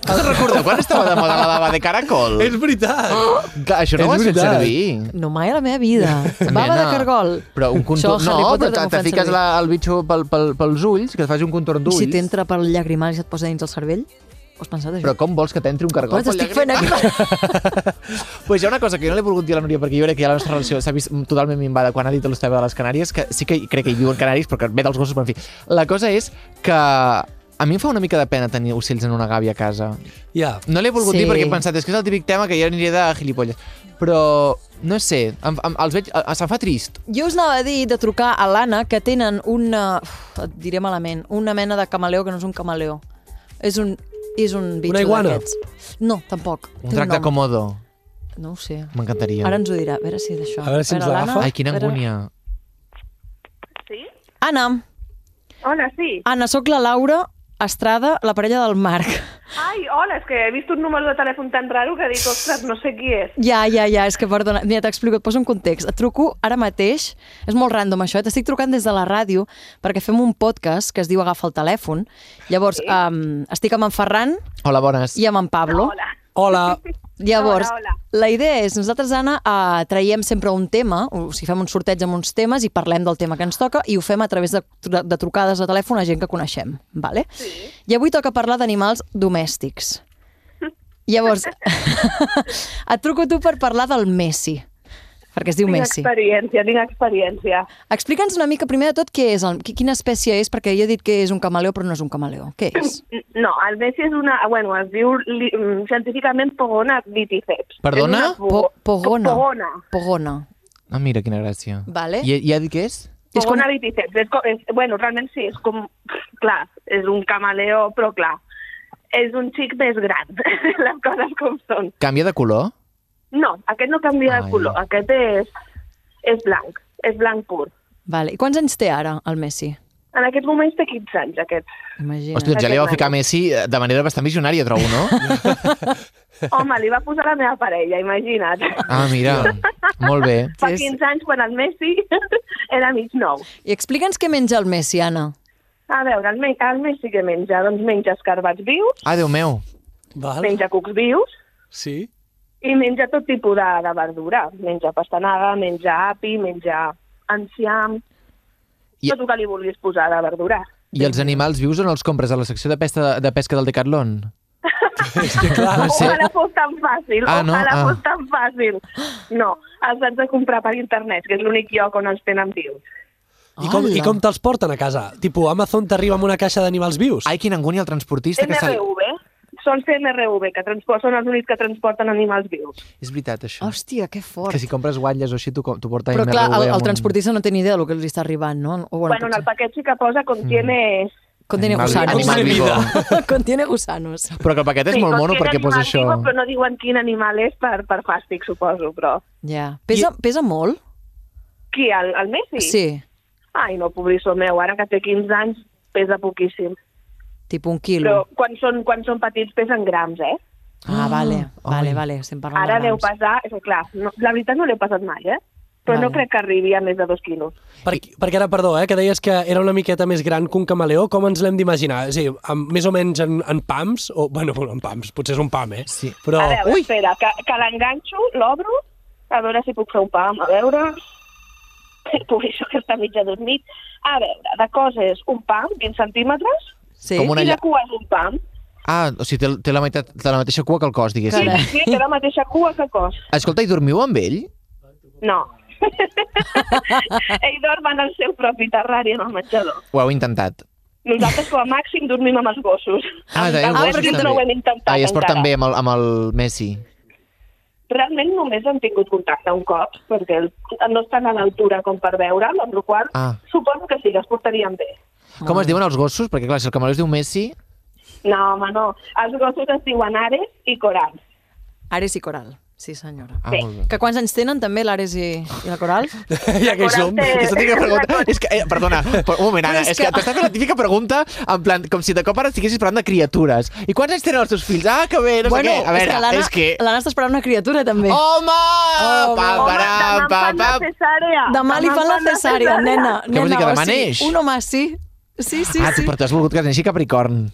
B: Recordeu quan estava de moda la bava de caracol?
C: És veritat!
B: Que això no ho has fet servir.
A: No, mai a la meva vida. Bava de
B: Nena,
A: cargol.
B: Però un
A: Això,
B: contorn...
A: Harry
B: No,
A: Potter
B: però te,
A: també ho
B: te
A: fan
B: fiques
A: servir.
B: la, el bitxo pel, pel, pels ulls, que et faci un contorn
A: I
B: d'ulls.
A: si t'entra pel llagrimal i et posa dins el cervell? Ho has pensat, això?
B: Però com vols que t'entri un cargol?
A: Però t'estic fent aquí...
B: Pues hi ha una cosa que jo no li he volgut dir a la Núria, perquè jo crec que ja la nostra relació s'ha vist totalment minvada quan ha dit l'Esteve de les Canàries, que sí que crec que hi viuen canaris, però que ve dels gossos, però en fi. La cosa és que a mi em fa una mica de pena tenir ocells en una gàbia a casa.
C: Ja.
B: No l'he volgut
C: Sí.
B: sí. dir perquè he pensat, és que és el típic tema que jo aniré de gilipolles. Però, no sé, em, em, els veig... a- Se'm fa trist.
A: Jo us anava a dir de trucar a l'Anna, que tenen una... Uf, et diré malament. Una mena de camaleó que no és un camaleó. És un... És un bitxo
B: Una iguana?
A: d'aquests. No, tampoc.
B: Un
A: Té
B: tracte
A: nom.
B: còmodo.
A: No ho sé.
B: M'encantaria.
A: Ara ens ho dirà. A veure si d'això...
B: A veure si ens
A: l'Anna-
B: l'agafa. Ai, quina
A: a veure-
B: angúnia.
A: Anna.
L: Hola, sí.
A: Anna, sóc la Laura Estrada, la parella del Marc.
L: Ai, hola, és que he vist un número de telèfon tan raro que dic, ostres, no sé qui és.
A: Ja, ja, ja, és que perdona, mira, t'explico, et poso en context. Et truco ara mateix, és molt random això, eh? t'estic trucant des de la ràdio perquè fem un podcast que es diu Agafa el telèfon. Llavors, sí. um, estic amb en Ferran
B: Hola, bones.
A: i amb en Pablo. Hola.
C: Hola.
A: Llavors,
L: Hola, hola.
A: la idea és, nosaltres, Anna, eh, traiem sempre un tema, o sigui, fem un sorteig amb uns temes i parlem del tema que ens toca i ho fem a través de, de trucades de telèfon a gent que coneixem, vale? Sí. I avui toca parlar d'animals domèstics. Llavors, et truco a tu per parlar del Messi, perquè es diu
L: tinc
A: Messi.
L: experiència, tinc experiència.
A: Explica'ns una mica, primer de tot, què és, el, qui- quina espècie és, perquè jo he dit que és un camaleó, però no és un camaleó. Què és?
L: No, el Messi és una... Bueno, es diu li, mm, científicament Pogona viticeps.
B: Perdona?
L: És una po-
A: Pogona.
L: Pogona.
A: Pogona.
B: Ah, mira, quina gràcia.
A: Vale.
B: I, i ha dit què és?
L: Pogona viticeps. És com, és, bueno, realment sí, és com... Clar, és un camaleó, però clar, és un xic més gran, les coses com són.
B: Canvia de color?
L: No, aquest no canvia
B: Ai.
L: de color, aquest és, és blanc, és blanc pur.
A: Vale. I quants anys té ara el Messi?
L: En aquests moments té 15 anys, aquest.
A: Imagina't.
B: Hòstia, doncs ja li va ficar Messi eh, de manera bastant visionària, trobo, no?
L: Home, li va posar la meva parella, imagina't.
B: Ah, mira. Molt bé.
L: Fa 15 anys, quan el Messi era mig nou.
A: I explica'ns què menja el Messi, Anna.
L: A veure, el, me el Messi que menja? Doncs menja escarbats vius,
B: Ah, Déu meu.
C: Val.
L: menja cucs vius
C: Sí.
L: i menja tot tipus de, de verdura. Menja pastanaga, menja api, menja enciam...
B: I-
L: Tot el que li vulguis posar de verdura.
B: I els animals vius on els compres? A la secció de, pesca, de pesca del Decathlon?
C: És que clar...
B: Ah, No sé.
I: Ojalà fos tan fàcil,
B: Ah, no?
I: ojalà
B: Ah.
I: fos tan fàcil. No, els has de comprar per internet, que és l'únic lloc on els tenen vius.
C: I com, I com te'ls porten a casa? Tipo, Amazon t'arriba amb una caixa d'animals vius?
B: Ai, quina angúnia el transportista que sal...
I: CNRV, són CNRV, que transpor- són els únics que transporten animals vius.
B: És veritat, això.
A: Hòstia, que fort.
B: Que si compres guatlles o així, t'ho co- t'ho porta
A: Però clar,
B: MRV
A: el,
B: amb
A: el
B: un-
A: transportista no té ni idea del que li està arribant, no? O,
B: Ah,
A: bueno,
I: Bueno, en
B: doncs
I: el paquet sí que posa
B: Mm.
I: contiene...
A: Contiene
B: Animal-
A: gusanos.
B: animal Contiene vivo.
A: Contiene gusanos.
B: Però que el paquet és molt mono
I: contiene
B: perquè posa
I: animal
B: això.
I: vivo, Però no diuen quin animal és per, per fàstic, suposo, però...
A: Ja. Pesa, pesa molt?
I: Qui, el, el Messi?
A: Sí.
I: Ai, no, pobrissó meu, ara que té 15 anys pesa poquíssim.
A: Tipo un quilo.
I: Però quan són, quan són petits pesen grams, eh?
A: Ah, vale, vale, vale. Estem parlant
I: Ara
A: de Ah,
I: deu
A: grams.
I: pesar, és que clar, no, la veritat no l'he pesat mai, eh? Però no
C: Vale.
I: crec que arribi a més de dos quilos.
C: Per, perquè ara, perdó, eh, que deies que era una miqueta més gran que un camaleó, com ens l'hem d'imaginar? És a dir, amb, més o menys en, en pams, o, bueno, bueno, en pams, potser és un pam, eh? Sí. Però,
I: A veure, espera, que, que l'enganxo, l'obro, a veure si puc fer un pam, a veure... Pugui això que està mitja dormit. A veure, de cos és un pam, 20 centímetres,
B: Sí. Com una
I: i
B: lla-
I: la cua és un pam.
B: Ah, o sigui, té, té, la meitat, té la mateixa cua que el cos, diguéssim.
I: Sí, sí, té la mateixa cua que el cos.
B: Escolta, i dormiu amb ell?
I: No. Ell dorm en el seu propi terrari en el menjador.
B: Ho heu intentat.
I: Nosaltres, com a màxim, dormim amb els gossos.
B: Ah, teniu
I: Amb
B: gossos,
I: els nens
B: també.
I: no ho hem intentat
B: Ah, i es porten
I: encara.
B: bé amb el, amb el Messi.
I: Realment només hem tingut contacte un cop, perquè el- no estan a l'altura com per veure'l, amb la qual
B: Ah.
I: cosa suposo que sí, que es portarien bé.
B: Com
A: Ah.
B: es diuen els gossos? Perquè, clar, si el camaró es diu Messi...
I: No, home, no. Els gossos es diuen Ares i Coral.
A: Ares i Coral. Sí, senyora.
B: Ah, Sí. molt bé.
A: Que quants anys tenen també l'Ares i, i la Coral?
C: ja que hi som.
B: Aquesta típica pregunta... És que, eh, perdona, per- un moment, Anna,
A: Però és
B: és, que,
A: que-
B: t'està fent la típica pregunta en plan, com si de cop ara estiguessis parlant de criatures. I quants anys tenen els teus fills? Ah, que bé, no
A: bueno,
B: sé què. A
A: és que
B: veure,
A: l'Anna
B: és que... Oh,
A: l'Anna està esperant una criatura, també.
B: Home!
A: Home!
B: Pa, param, pa, pa.
I: cesàrea.
A: Demà li fan la cesàrea, nena.
B: Què vols dir,
A: nena,
B: que
A: o
B: demà
A: sigui,
B: neix?
A: Un home, sí. Sí, sí,
B: ah, tu,
A: sí.
B: però t'has volgut que neixi Capricorn.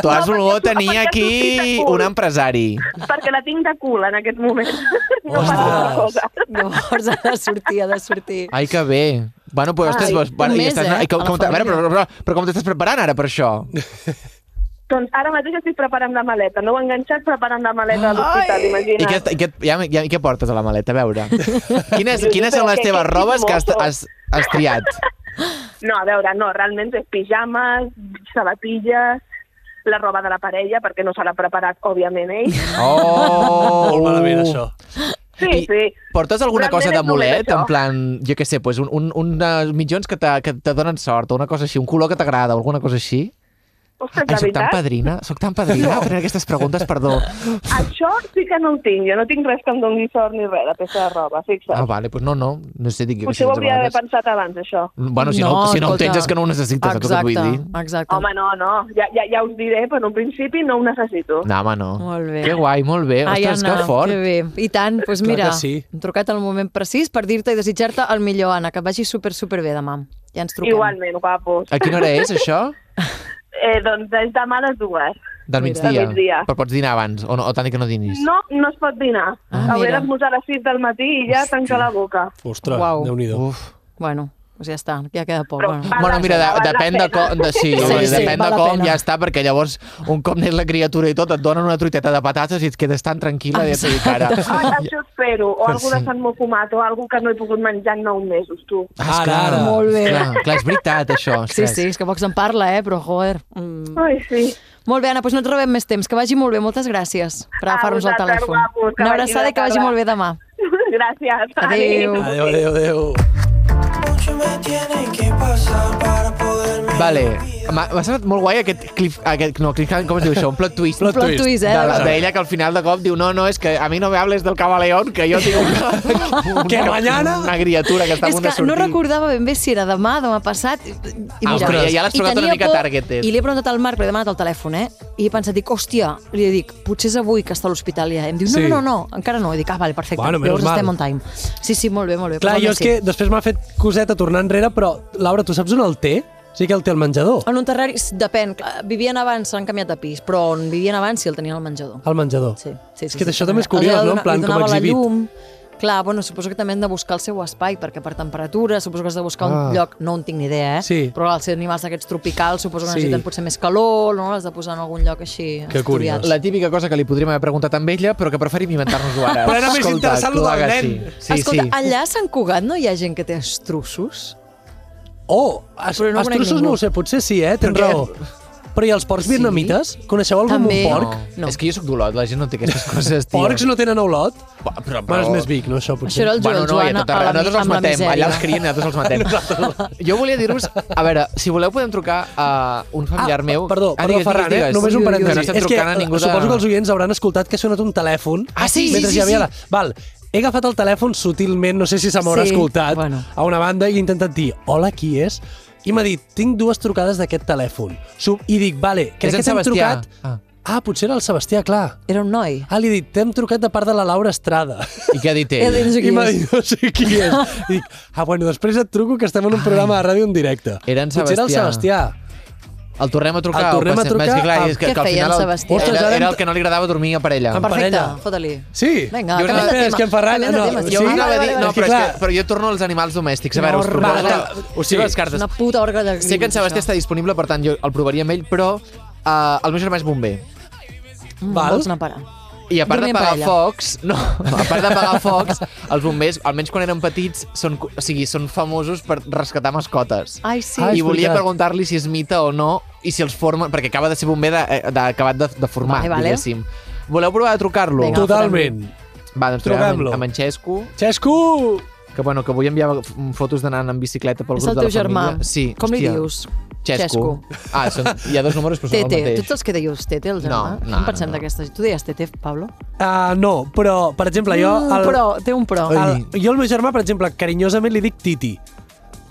B: tu has volgut tenir aquí un empresari.
I: Perquè la tinc de cul en aquest moment. No passa altra cosa.
A: Llavors ha de sortir, ha de sortir.
B: Ai, que bé. Bueno, pues, ostres,
A: Ai,
B: doncs, bueno,
A: un
B: i
A: mes,
B: estàs...
A: eh,
B: Ai, com,
A: a la
B: com te- a veure,
A: família.
B: però, però, però com t'estàs preparant ara per això?
I: Doncs ara mateix estic preparant la maleta. No ho he enganxat preparant la maleta a l'hospital,
B: I què,
I: imagina't.
B: i què, ja, ja, i què portes a la maleta? A veure. Quines, quines són les
I: Però que-
B: teves
I: que
B: robes que has,
I: chismoso.
B: has, has triat?
I: No, a veure, no, realment és pijames, sabatilles, la roba de la parella, perquè no se l'ha preparat, òbviament, ell.
B: Oh!
C: Molt
A: Uh.
C: malament, això.
I: Sí, sí.
B: Portes alguna
I: Realment
B: cosa
I: és
B: d'amulet?
I: només això.
B: En plan, jo què sé, pues, un, un, uns mitjons que te, que te donen sort, o una cosa així, un color que t'agrada, o alguna cosa així?
I: Ostres,
B: Ai,
I: la
B: soc tan
I: veritat,
B: padrina, soc tan padrina fent aquestes preguntes, perdó.
I: això sí que no ho tinc. Jo no tinc res que em doni sort ni res, la peça de roba, fixa't.
B: Ah, vale, pues no, no, no sé, dic
I: Potser
B: això
I: ho
B: a
I: hauria d'haver
B: vegades.
I: pensat abans, això.
B: Bueno, si no,
A: No,
B: si no ho
A: escolta.
B: tens és que no ho necessites, saps el que et vull dir?
A: exacte.
I: Home, no, no, ja, ja, ja us diré, però en un principi no ho necessito.
B: No, home, no.
A: Molt bé.
B: Que guai, molt bé.
A: Ai,
B: Ostres,
A: Anna,
B: que fort.
A: que bé. I tant, doncs
B: Clar
A: mira,
B: que sí.
A: hem trucat al moment precís per dir-te i desitjar-te el millor, Anna, que et vagi super, super bé demà. Ja ens truquem.
I: Igualment, guapos.
B: A quina hora és, això?
I: Eh, doncs és demà a les dues.
B: Del
I: Mira.
B: migdia.
I: Del migdia.
B: Però pots dinar abans, o, no, o tant que no dinis.
I: No, no es pot dinar.
B: Ah,
I: Hauré
B: mira.
I: d'esmorzar a les 6 del matí i ja tancar la boca.
C: Ostres,
A: Uau. Uh.
C: Déu-n'hi-do.
A: Bueno, doncs ja està, ja queda poc.
I: Però
A: bueno.
I: va
B: Bueno, mira, de, depèn de com... De, sí,
A: Sí,
B: sí,
A: sí,
B: depèn
A: val la
B: de com,
A: pena.
B: ja està, perquè llavors, un cop neix la criatura i tot, et donen una truiteta de patates i et quedes tan tranquil·la i et dic ara...
A: Ah,
I: Ai, això espero. O algú de
B: Sí.
I: Sant Mocumat o algú que no he pogut menjar en 9 mesos, tu.
B: Ah,
C: Ara, ara.
A: Molt bé.
B: Clar, clar, és veritat, això.
A: Sí,
B: Ostres.
A: sí, és que poc se'n parla, eh, però joder. Mm.
I: Ai, sí.
A: Molt bé, Anna, doncs no et robem més temps. Que vagi molt bé, moltes gràcies per agafar-nos el
I: vosaltres,
A: telèfon.
I: guapos, que
A: Una
I: vagi
A: abraçada
I: bé
A: i que vagi
I: la
A: molt bé demà.
I: Gràcies.
A: Adéu.
C: Adéu, adéu, adéu.
B: Vale, m'ha m'ha semblat molt guai aquest cliff... Aquest, no, cliff, com es diu això? Un plot twist.
C: Plot Plot twist. twist, eh,
B: De la-
C: exacte.
B: D'ella que al final de cop diu no, no, és que a mi no me hables del camaleón, que jo tinc una, una,
C: Que mañana-
B: una criatura que està a
A: És
B: punt
A: que
B: de sortir.
A: no recordava ben bé si era demà, demà passat. I, i
B: Ah,
A: mira,
B: ostres, ja l'has
A: i
B: trobat una
A: tenia
B: mica
A: por,
B: targeted.
A: I li he preguntat al Marc, li he demanat el telèfon, eh? I he pensat, dic, hòstia, li dic, potser és avui que està a l'hospital ja. I em diu, no,
C: Sí.
A: no, no, no, encara no. I dic, ah, vale, perfecte.
C: Bueno, menos
A: Llavors
C: mal.
A: estem on time. Sí, sí, molt bé, molt bé.
C: Clar,
A: Però
C: jo
A: home,
C: és
A: sí.
C: que després m'ha fet coseta tornar enrere, però, Laura, tu saps on el té? Sí que el té al menjador.
A: En un terrari, depèn, clar, vivien abans, s'han canviat de pis, però on vivien abans sí el tenien al menjador.
C: Al menjador.
A: Sí, sí,
C: És
A: sí,
C: que
A: sí,
C: això
A: sí,
C: també
A: Els
C: és
A: hi
C: curiós,
A: va
C: no?
A: donar-
C: En plan,
A: li
C: com
A: donava
C: exhibit.
A: La llum, Clar, bueno, suposo que també han de buscar el seu espai, perquè per temperatura suposo que has de buscar ah.
C: Ah.
A: un lloc, no en tinc ni idea, eh?
C: Sí.
A: Però els animals d'aquests tropicals suposo que
B: Sí.
A: necessiten potser més calor, no? L'has de posar en algun lloc així. asturiat.
B: La típica cosa que li podríem haver preguntat a ella, però que preferim inventar-nos-ho ara.
A: Però era més
B: Escolta,
A: interessant lo del
B: clar que
A: nen.
B: Sí, sí.
A: Escolta,
B: sí.
A: allà a Sant Cugat no hi ha gent que té estrussos?
C: Oh, es,
A: Però no
C: no
A: conec
C: estrussos
A: ningú.
C: no ho sé, potser sí, eh? Tens raó. Però i els porcs vietnamites? Coneixeu algun
A: També.
C: porc?
B: No. És que jo sóc d'Olot, la gent no té aquestes coses, tio.
C: Porcs no tenen olot?
B: Però, però,
C: Bueno, és més Vic, no, això, potser.
A: Això era el Joel
B: bueno, no,
A: Joan
B: i a tot
A: a
B: arreu.
A: la mi-
B: nosaltres els
A: amb la
B: matem,
A: misèria.
B: allà els crien, nosaltres els matem. Jo volia dir-vos, a veure, si voleu podem trucar a un familiar
C: Ah,
B: meu.
C: Perdó, perdó Ferran, eh? Només un
B: Que
C: parèntesi.
B: no estem
C: és que eh,
B: trucant a ningú de...
C: suposo que els oients hauran escoltat que ha sonat un telèfon.
B: Ah, sí, sí,
C: mentre
B: sí,
C: hi havia
B: sí.
C: La... Val, he agafat el telèfon sutilment, no sé si se m'haurà
B: Sí,
C: escoltat, bueno. a una banda i he intentat dir, hola, qui és? I m'ha dit, tinc dues trucades d'aquest telèfon. Sub- I dic, vale,
B: És
C: crec
B: en
C: que t'hem
B: Sebastià.
C: trucat... Ah. ah, potser era el Sebastià, clar.
A: Era un noi.
C: Ah, li he dit, t'hem trucat de part de la Laura Estrada.
B: I què ha dit
C: I
B: ell?
C: m'ha dit, no sé qui és. I dic, ah, bueno, després et truco que estem en un programa de ràdio en directe.
B: Era en
C: Potser era el
B: Sebastià.
C: Sebastià.
B: El tornem a trucar.
C: El
B: o
C: tornem a
B: passem?
C: trucar
B: És que, clar,
C: a-
B: és que,
A: Què
B: que al
A: feia el
B: final el-
A: Sebastià?
B: Era,
C: Ostres, ara
B: era
C: hem-
B: el que no li agradava dormir a parella.
A: Perfecte, fot-li.
C: Sí.
A: Vinga,
B: Jo-
A: canviem de
B: Espera, és
A: tema.
B: que en Ferran-
A: Canviem de
B: no,
A: tema,
B: jo
A: sí.
B: anava
A: Ah, Vale,
B: a dir-
A: vale,
B: no,
A: vale.
B: però, és que, però jo torno als animals domèstics. A veure, us
A: Horror.
B: proposo...
A: Va,
B: Us tiro les cartes.
A: Una puta orga de...
B: Sé que en Sebastià està disponible, per tant, jo el provaria amb ell, però eh, el meu germà és bomber.
A: Mm,
B: Val.
A: vols anar a parar.
B: I a part
A: Dormir
B: de
A: en parella.
B: pagar focs, no, a part de pagar focs, els bombers, almenys quan eren petits, són, o sigui, són famosos per rescatar mascotes.
A: Ai, sí.
B: I volia preguntar-li si és mita o no, i si els formen, perquè acaba de ser bomber de- eh, de- acabat de, de formar,
A: Vale,
B: vale,
A: vale.
B: vale. diguéssim. Voleu provar de trucar-lo?
A: Vinga, Totalment.
B: Va, doncs truquem
C: Truquem-lo.
B: amb, amb en Xesco.
C: Xesco!
B: Que, bueno, que avui enviava f- mm, fotos d'anar en bicicleta pel
A: És
B: grup
A: el
B: de la
A: teu germà.
B: família. Sí,
A: Com li
B: hòstia.
A: dius?
B: Xesco. Ah, són, hi ha dos números, però són el
A: Tete,
B: mateix.
A: tu saps què deies, Tete, el germà?
B: no,
A: Què en pensem
B: no.
A: d'aquestes? Tu deies Tete, Pablo?
C: Uh, no, però, per exemple, jo...
A: Mm, però, té un però.
C: El, jo al meu germà, per exemple, carinyosament li dic Titi.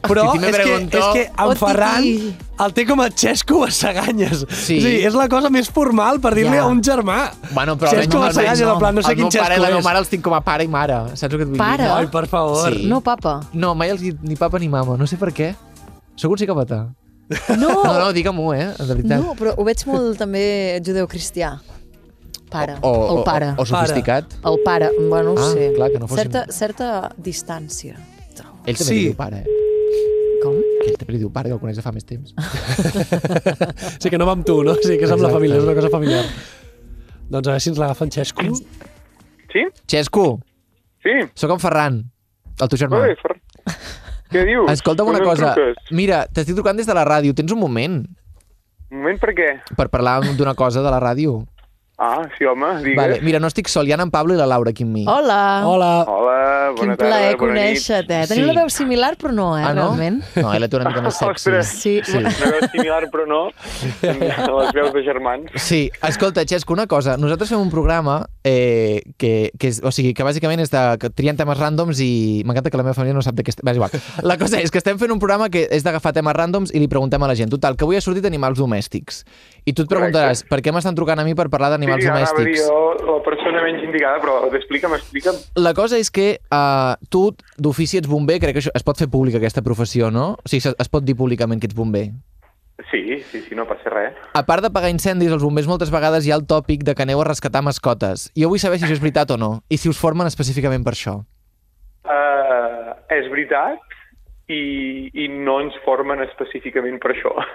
C: Però
B: Titi me
C: és, que,
B: preguntó.
C: és que en
B: Oh,
C: Ferran
B: Titi.
C: el té com a Xesco Bassaganyes.
B: Sí.
C: O sigui, és la cosa més formal per dir-li
B: Ja.
C: a un germà.
B: Bueno, però
C: Xesco Bassaganyes, en plan, no sé
B: el
C: quin
B: meu pare i
C: Xesco
B: la meva
C: és.
B: mare els tinc com a pare i mare. Saps el que et vull
A: Pare?
B: dir?
A: Ai,
C: per favor.
B: Sí.
A: No, papa.
B: No, mai els he dit ni papa ni mama, no sé per què. Sóc un psicòpata.
A: No!
B: No, no, digue-m'ho, eh, de veritat.
A: No, però ho veig molt també judeocristià. Pare.
B: O, o,
A: el pare.
B: o, o sofisticat.
A: El pare, bueno, no ho
B: Ah,
A: sé.
B: clar, que no fossin-
A: certa,
B: Mm.
A: certa distància.
B: Ell també
C: Sí.
B: li diu pare. Com? Que ell també li diu pare, que el coneix de fa més temps.
C: Sí que no va amb tu, no? Sí que és amb la
B: Exacte.
C: família, és una cosa familiar. Doncs a veure si ens l'agafa en Xesco.
G: Sí?
B: Xesco,
G: Sí?
B: sóc en Ferran, el teu germà.
G: Oi, Ferran. eh, Què dius?
B: Escolta'm una
G: Com em
B: cosa.
G: truques?
B: Mira, t'estic trucant des de la ràdio. Tens un moment
G: Un moment, per què?
B: per parlar d'una cosa de la ràdio?
G: Ah, sí, home, digues.
B: Vale. Mira, no estic sol, hi ha en Pablo i la Laura aquí amb mi.
A: Hola!
G: Hola, bona
A: Quin plaer
G: tarda, bona
A: conèixer-te. Eh? Teniu
B: Sí.
A: la veu similar, però no, eh,
B: Ah, no?
A: realment.
B: No, ella té una mica més sexy.
G: Ostres,
A: Sí.
G: una veu similar, però no. Les veus de germans.
B: Sí, escolta, Xesco, una cosa. Nosaltres fem un programa eh, que, que, és, o sigui, que bàsicament és de que trien temes ràndoms i m'encanta que la meva família no sap de què... est- Va, és igual. La cosa és que estem fent un programa que és d'agafar temes ràndoms i li preguntem a la gent. Total, que avui ha sortit animals domèstics. I tu et preguntaràs, per què m'estan trucant a mi per parlar d'animals
G: sí, anava a dir
B: domèstics?
G: jo, la persona menys indicada, però explica'm, explica'm.
B: La cosa és que uh, tu d'ofici ets bomber, crec que això, es pot fer pública aquesta professió, no? O sigui, se- es pot dir públicament que ets bomber.
G: Sí, sí, sí, no passa res.
B: A part de pagar incendis, els bombers moltes vegades hi ha el tòpic de que aneu a rescatar mascotes. Jo vull saber si això és veritat o no, i si us formen específicament per això.
G: Uh, és veritat i, i no ens formen específicament per això.
A: Ah,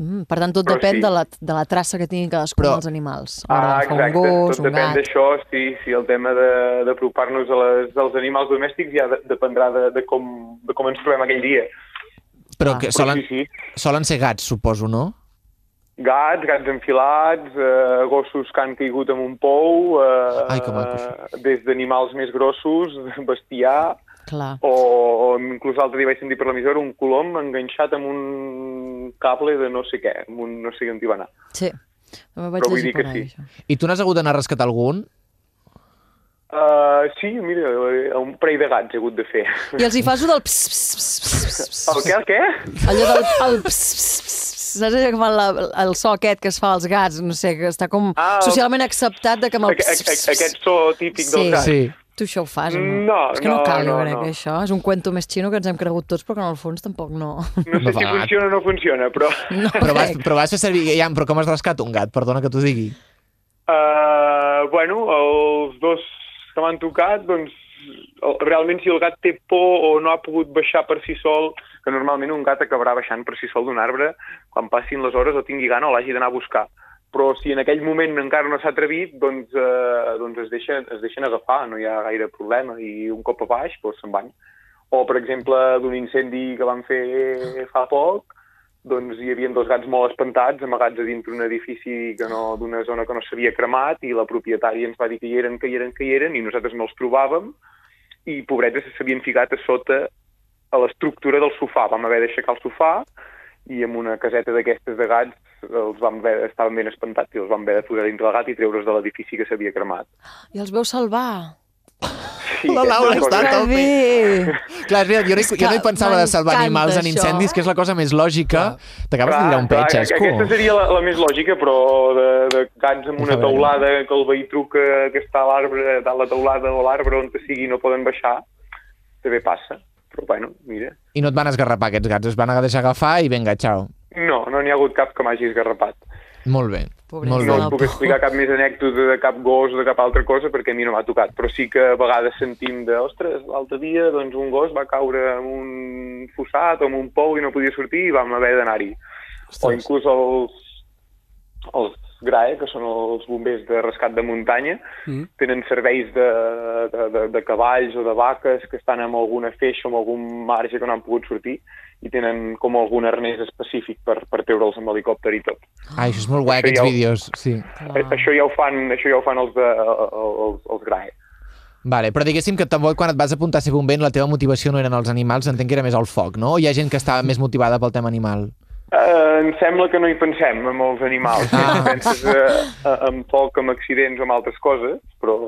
A: Mm, per tant, tot
G: Però
A: depèn
G: sí. Ah,
A: de, la, de la traça que tinguin cadascun dels animals. Ara, doncs fa un
G: exacte,
A: gos,
G: tot
A: un
G: depèn
A: gat...
G: d'això, si, si el tema de- d'apropar-nos a les- als animals domèstics ja de, dependrà de, de, com, de com ens trobem aquell dia.
B: Però que solen,
G: Ah, sí, sí.
B: solen ser gats, suposo, no?
G: Gats, gats enfilats, eh, gossos que han caigut amb un pou, eh,
B: Ai, que maco,
G: des d'animals més grossos, bestiar,
A: Clar.
G: o, o inclús l'altre dia vaig sentir per l'emissora un colom enganxat amb un cable de no sé què, amb un no sé on hi va anar.
A: Sí. També vaig
G: Però vull
A: llegir
G: dir que
A: per
G: sí.
A: ahí, això.
B: I tu n'has hagut d'anar a rescatar algun?
G: Uh, sí, mira, eh, un parell de gats he hagut de fer.
A: I els hi fas allò del ps, ps, ps, ps, ps, ps.
G: El què, el què?
A: Allò del el ps, ps, ps, ps. Saps allò com el, el so aquest que es fa als gats? No sé, que està com ah,
G: el-
A: socialment acceptat de que amb el
G: Aqu-
A: ps, ps,
G: aqu-
A: ps.
G: aqu- Aquest so típic del gat.
A: Tu això ho fas, o no?
G: No,
A: és que no,
G: no,
A: cal, jo
G: no,
A: crec,
G: no.
A: que això. És un cuento més xino que ens hem cregut tots, però que en el fons tampoc no.
G: No sé si funciona o no funciona, però...
A: No
B: Però vas, però vas fer servir... Ja, però com has rescat un gat? Perdona que t'ho digui.
G: Eh, Uh, bueno, els dos que m'han tocat, doncs, o- realment si el gat té por o no ha pogut baixar per si sol, que normalment un gat acabarà baixant per si sol d'un arbre quan passin les hores o tingui gana o l'hagi d'anar a buscar. Però si en aquell moment encara no s'ha atrevit, doncs, eh, doncs es, deixen, es deixen agafar, no hi ha gaire problema, i un cop a baix doncs se'n van. O, per exemple, d'un incendi que van fer fa poc, doncs hi havia dos gats molt espantats amagats a dintre un edifici que no, d'una zona que no s'havia cremat i la propietària ens va dir que hi eren, que hi eren, que hi eren i nosaltres no els trobàvem i pobrets s'havien ficat a sota a l'estructura del sofà. Vam haver d'aixecar el sofà i amb una caseta d'aquestes de gats els vam haver, estaven ben espantats i els vam haver de posar dintre el gat i treure's de l'edifici que s'havia cremat.
A: I els veu salvar.
G: Sí, La Laura és una està cosa- a tope.
B: Clar, és veritat, jo no, hi- jo no hi pensava de salvar
G: m'encanta
B: animals en
G: això.
B: incendis, que és la cosa més lògica. T'acabes de tirar un
G: Clar,
B: petxa, és
G: aqu- Aquesta
B: cool.
G: seria la, la més lògica, però de, de gats amb una teulada que el veí truca que està a l'arbre, a la teulada o a l'arbre on sigui no poden baixar, també passa. Però bueno, mira,
B: I no et van esgarrapar aquests gats, es van deixar agafar i vinga, xau.
G: no, no n'hi ha hagut cap que m'hagi esgarrapat.
B: Molt bé. Molt
G: no
B: bé.
G: us puc explicar cap més anècdota de cap gos o de cap altra cosa perquè a mi no m'ha tocat, però sí que a vegades sentim de, ostres, l'altre dia doncs, un gos va caure en un fossat o en un pou i no podia sortir i vam haver d'anar-hi. O inclús els, els GRAE, que són els bombers de rescat de muntanya,
C: Mm.
G: tenen serveis de, de, de, de cavalls o de vaques que estan amb alguna feixa o amb algun marge que no han pogut sortir i tenen com algun arnès específic per, per treure'ls amb helicòpter i tot.
B: Ai, això és molt guai,
G: Això
B: aquests
G: ja ho-
B: vídeos. Sí.
G: Eh, Això ja ho fan, això ja ho fan els, de, els, els GRAE.
B: Vale, però diguéssim que tampoc quan et vas apuntar a ser bomber la teva motivació no eren els animals, entenc que era més el foc, no? O hi ha gent que estava més motivada pel tema animal?
G: Eh, em sembla que no hi pensem, amb els animals. Ah. Penses eh, en foc, en accidents o en altres coses, però,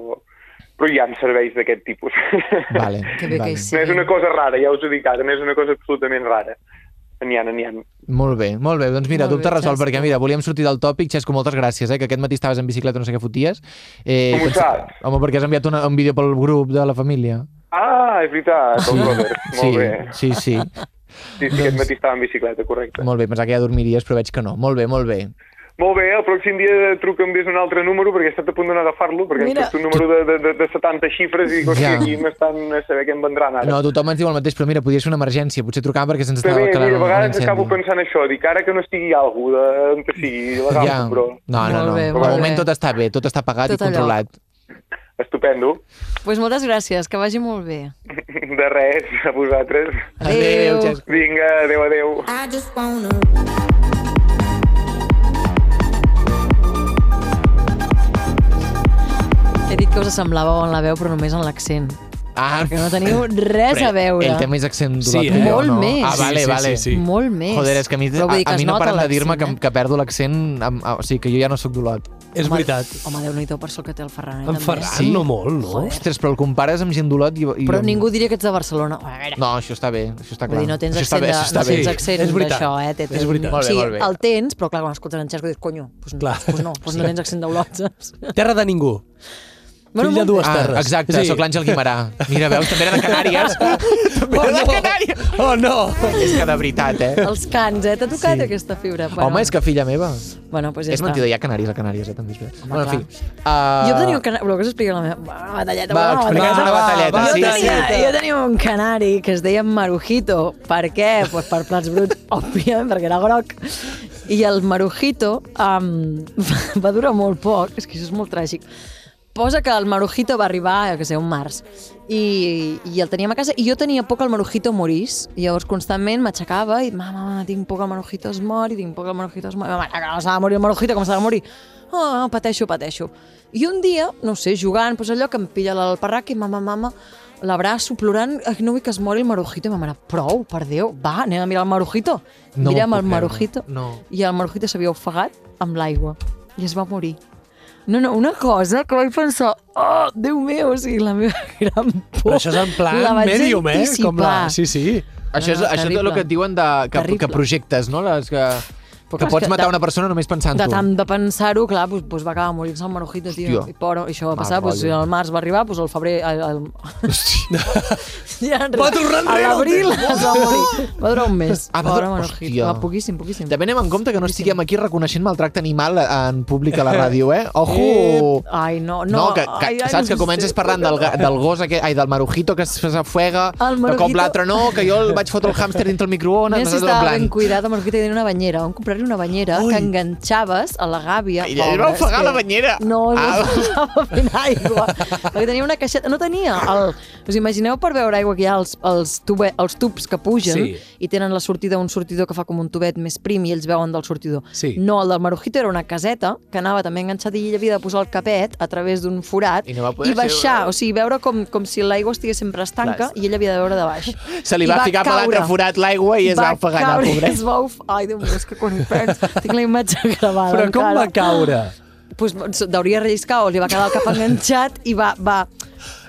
G: però hi ha serveis d'aquest tipus.
B: Vale,
A: que bé vale. que hi
G: No és una cosa rara, ja us ho dic ara, no és una cosa absolutament rara. N'hi ha, n'hi ha.
B: Molt bé, molt bé. Doncs mira,
G: Molt
B: dubte
G: bé,
B: resolt,
G: Xesco.
B: perquè mira, volíem sortir del tòpic. Xesco, moltes gràcies, eh, que aquest matí estaves en bicicleta, no sé què foties. Eh,
G: Com ho
B: saps? Home, perquè has enviat una, un vídeo pel grup de la família.
G: Ah, és veritat, el Robert.
B: sí, Doncs
G: Molt bé.
B: sí, sí.
G: Sí, sí, aquest matí estava en bicicleta, correcte.
B: Molt bé, pensava que ja dormiries, però veig que no. Molt bé, molt bé.
G: Molt bé, el pròxim dia truca'm des d'un altre número, perquè he estat a punt d'anar a agafar-lo, perquè
B: Mira.
G: Mira. hem fet un número de, de, de, de 70 xifres i dic, hòstia,
B: Ja.
G: aquí m'estan a saber què em vendran ara.
B: No, tothom ens diu el mateix, però mira, podria ser una emergència. Potser trucàvem perquè se'ns estava
G: També, mira,
B: calant
G: a
B: un, un
G: vegades acabo
B: incendi.
G: pensant això, dic, ara que no estigui algú de, on que sigui, l'agafo,
B: Ja.
G: però...
B: No, no, no.
A: bé,
B: de
A: molt
B: moment
A: bé.
B: tot està bé, tot està pagat
A: Tot
B: i
A: allò.
B: controlat.
G: Estupendo.
A: Doncs pues moltes gràcies, que vagi molt bé.
G: De res, a vosaltres.
A: Adéu. Adéu, Xesco.
G: Vinga, adéu, adéu.
H: I just wanna
A: He dit que us semblàveu en la veu, però només en l'accent.
B: Ah,
A: Perquè no teniu res
B: Però
A: a veure.
B: Ell també és accentuat.
C: Sí, eh?
B: que jo,
A: Molt
B: no?
A: més.
B: Ah, vale,
A: Sí, sí,
B: vale.
A: sí, sí. Molt més.
B: Joder, és que a mi,
A: Però vull dir que
B: a, a
A: es
B: mi no
A: nota
B: paren de dir-me que,
A: l'accent, eh?
B: que perdo l'accent, amb- ah, o sigui, que jo ja no sóc d'Olot.
C: És
A: Home,
C: veritat.
A: Home, Déu-n'hi-do per sol que té el Ferran. eh,
C: En
A: també.
C: Ferran no molt, no?
B: Ostres, però el compares amb gent d'Olot i... i
A: Però
B: amb-
A: ningú diria que ets de Barcelona. A veure,
B: No, això està bé, això està
A: Vull
B: clar.
A: dir, no tens
B: això està
A: accent, de,
B: bé,
A: no
B: això està
A: tens
B: bé.
A: accent d'això, eh? Té, té,
B: Molt bé,
A: sí,
B: molt bé.
A: el tens, però clar, quan escolten en Xesco dius, conyo, doncs, no, doncs no, doncs no tens accent d'Olot, saps?
C: Terra de ningú.
A: Bueno,
C: Fill de
A: molt
C: dues
B: Ah,
C: terres.
B: exacte, sóc l'Àngel Guimarà. Mira, veus, també era de Canàries. també
C: Oh,
B: era de
C: no.
B: Canàries.
C: Oh, no!
B: És que de veritat, eh?
A: Els cans, eh? T'ha tocat aquesta fibra. Bueno,
B: Home, és que filla meva.
A: Bueno, pues ja
B: és
A: està.
B: mentida, hi ha Canàries a Canàries, eh, també és veritat. Bueno, en
A: clar.
B: fi. Uh...
A: Jo tenia un canari... Voleu que us expliqui la meva... Una batalleta,
B: Va,
A: una
B: explicaràs una batalleta,
A: Va,
B: sí,
A: jo, tenia,
B: sí.
A: jo tenia un canari que es deia Marujito. Per què? Pues per plats bruts, òbviament, perquè era groc. I el Marujito um, va durar molt poc, és que això és molt tràgic. Posa que el Marujito va arribar, jo que sé, un març, i, i el teníem a casa, i jo tenia por que el Marujito morís, i llavors constantment m'aixecava i, mama, mama, tinc por que el Marujito es mori, tinc por que el Marujito es mori, mama, que no s'ha de morir el Marujito, com s'ha de morir? Ah, pateixo, pateixo. I un dia, no ho sé, jugant, doncs allò que em pilla l'alparrac i mama, mama, l'abraço plorant, "Ai, no vull que es mori el Marujito, i ma mare, prou, per Déu, va, anem a mirar el Marujito.
B: No
A: Mirem
B: m'ho
A: el
B: puc creure.
A: Marujito
B: No.
A: i el Marujito s'havia ofegat amb l'aigua i es va morir. No, no, una cosa que vaig pensar, oh, Déu meu, o sigui, la meva gran por.
C: Però això és en
A: la
C: plan
A: vaig
C: medium, eh? Com la...
A: anticipar.
C: Sí, sí.
B: Això és,
A: No, no,
B: això és el
A: terrible.
B: que et diuen de, que, que projectes, no? Les que... Que pots matar una persona només pensant-ho.
A: De tant de pensar-ho, clar, doncs, doncs va acabar morint-se el Marujito, tio.
B: Hòstia. Ah,
A: I por, això va
B: Mal
A: passar, doncs,
B: rotllo.
A: el març va arribar, doncs el febrer... El, el... ja
B: Va
A: A
B: tornar enrere el
A: l'abril
B: temps.
A: es va morir. Va durar un mes.
B: Ah,
A: Ah,
B: va
A: Pobre
B: dur-
A: Marujito.
B: Hòstia.
A: Va poquíssim, poquíssim.
B: També anem en compte que no estiguem aquí reconeixent maltracte animal en públic a la ràdio, eh? Ojo!
A: Eh, ai, no,
B: No,
A: no.
B: que, que
A: ai, ai,
B: saps
A: no
B: que comences
A: sé.
B: parlant del, ga- del gos aquest, ai, del marujito que s'afuega,
A: El
B: de cop
A: marujito.
B: l'altre no, que jo el vaig fotre el hàmster dintre el microones,
A: Mira si
B: nosaltres en
A: estava ben
B: plan...
A: cuidat, amb el que tenia una banyera. Vam comprar-li una banyera que enganxaves a la gàbia.
B: I ell
A: Pobre,
B: va
A: és
B: ofegar
A: que-
B: la banyera.
A: No, no
B: Ah.
A: estava fent aigua. Perquè tenia una caixeta... No tenia el... Us imagineu per veure aigua que hi ha els, els, tube, els tubs que pugen
K: Sí.
A: i tenen la sortida, un sortidor que fa com un tubet més prim i ells veuen del sortidor.
K: Sí.
A: No, el del Marujito era una caseta que anava també enganxada i ell havia de posar el capet a través d'un forat
B: I no va poder
A: i baixar,
B: ser-
A: o sigui, veure com, com si l'aigua estigués sempre estanca
B: Clar.
A: i ell havia de veure de baix.
B: Se li
A: I
B: va ficar per l'altre
A: caure.
B: forat l'aigua i es va ofegar,
A: caure,
B: el pobret.
A: Es va of... Ai, Déu meu, és que quan hi penso, tinc la imatge gravada
B: Però com
A: encara.
B: va caure?
A: Pues, deuria relliscar o li va quedar el cap enganxat i va... va...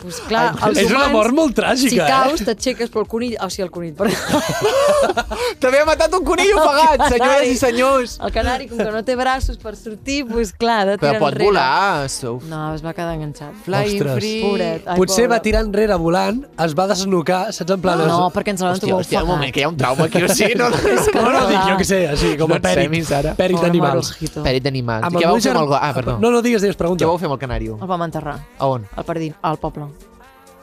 A: Pues, clar,
C: Ai,
A: els
C: és una
A: humans,
C: mort molt tràgica,
A: si
C: eh?
A: caus, t'aixeques pel conill... O sigui, el conill, perdó.
B: També ha matat un conill ofegat, senyores i senyors.
A: El canari, com que no té braços per sortir, pues, clar, ha de
B: Però
A: tirar
B: pot
A: enrere.
B: volar. sou-
A: No, es va quedar enganxat.
B: Ostres.
A: Pobret. Ai,
C: Potser
A: pobre.
C: va tirar enrere volant, es va desnucar, saps, en plan...
A: No,
C: es-
A: perquè ens l'han Hòstia, trobat hòstia, un
B: ofegat. moment, que hi ha un trauma aquí, o sigui, no- És que
C: no,
B: clar.
C: no, dic, jo què sé, així, com
B: No
C: a
B: et semis,
C: pèrit,
B: ara.
C: pèrit
B: Pobre
C: d'animals.
B: Marujito. Pèrit d'animals.
C: Amb
B: I què
C: el
B: vau
C: meu
B: fer amb el
C: germà-
B: go- ah, perdó.
C: No, no digues, digues, pregunta.
B: Què vau fer amb el canàrio?
A: El vam enterrar.
B: A on?
A: Al Pardín, al poble.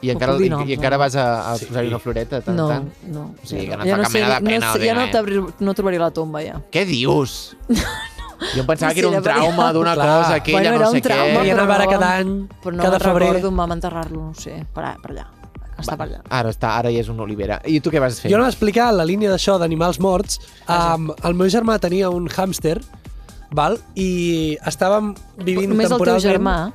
B: I
A: No
B: encara,
A: puc
B: i,
A: dir noms,
B: i encara
A: no.
B: vas a, a posar-hi una floreta, de tant,
A: No,
B: tant?
A: no.
B: O sigui, que no,
A: ja
B: fa
A: no
B: cap
A: sé,
B: mena de pena.
A: no,
B: o
A: sé,
B: sigui,
A: ja no,
B: eh?
A: t'obri- no trobaré la tomba, ja.
B: Què dius? Jo em pensava
A: Sí,
B: que era un
A: la veritat.
B: trauma d'una
C: Clar.
B: cosa, que
A: bueno,
B: ella
A: era
B: no sé
A: un trauma,
B: què.
A: però
C: anava
A: no-
C: cada any,
A: però no
C: cada
A: me'n
C: febrer.
A: recordo, em vam enterrar-lo, no sé, per, a- per allà. Està per allà.
B: Ara està, ara ja és una olivera. I tu què vas fer?
C: Jo no explicar la línia d'això d'animals morts.
A: Ah,
C: Um, el meu germà tenia un hàmster, val? i estàvem vivint
A: Només el teu
C: temporalment...
A: germà.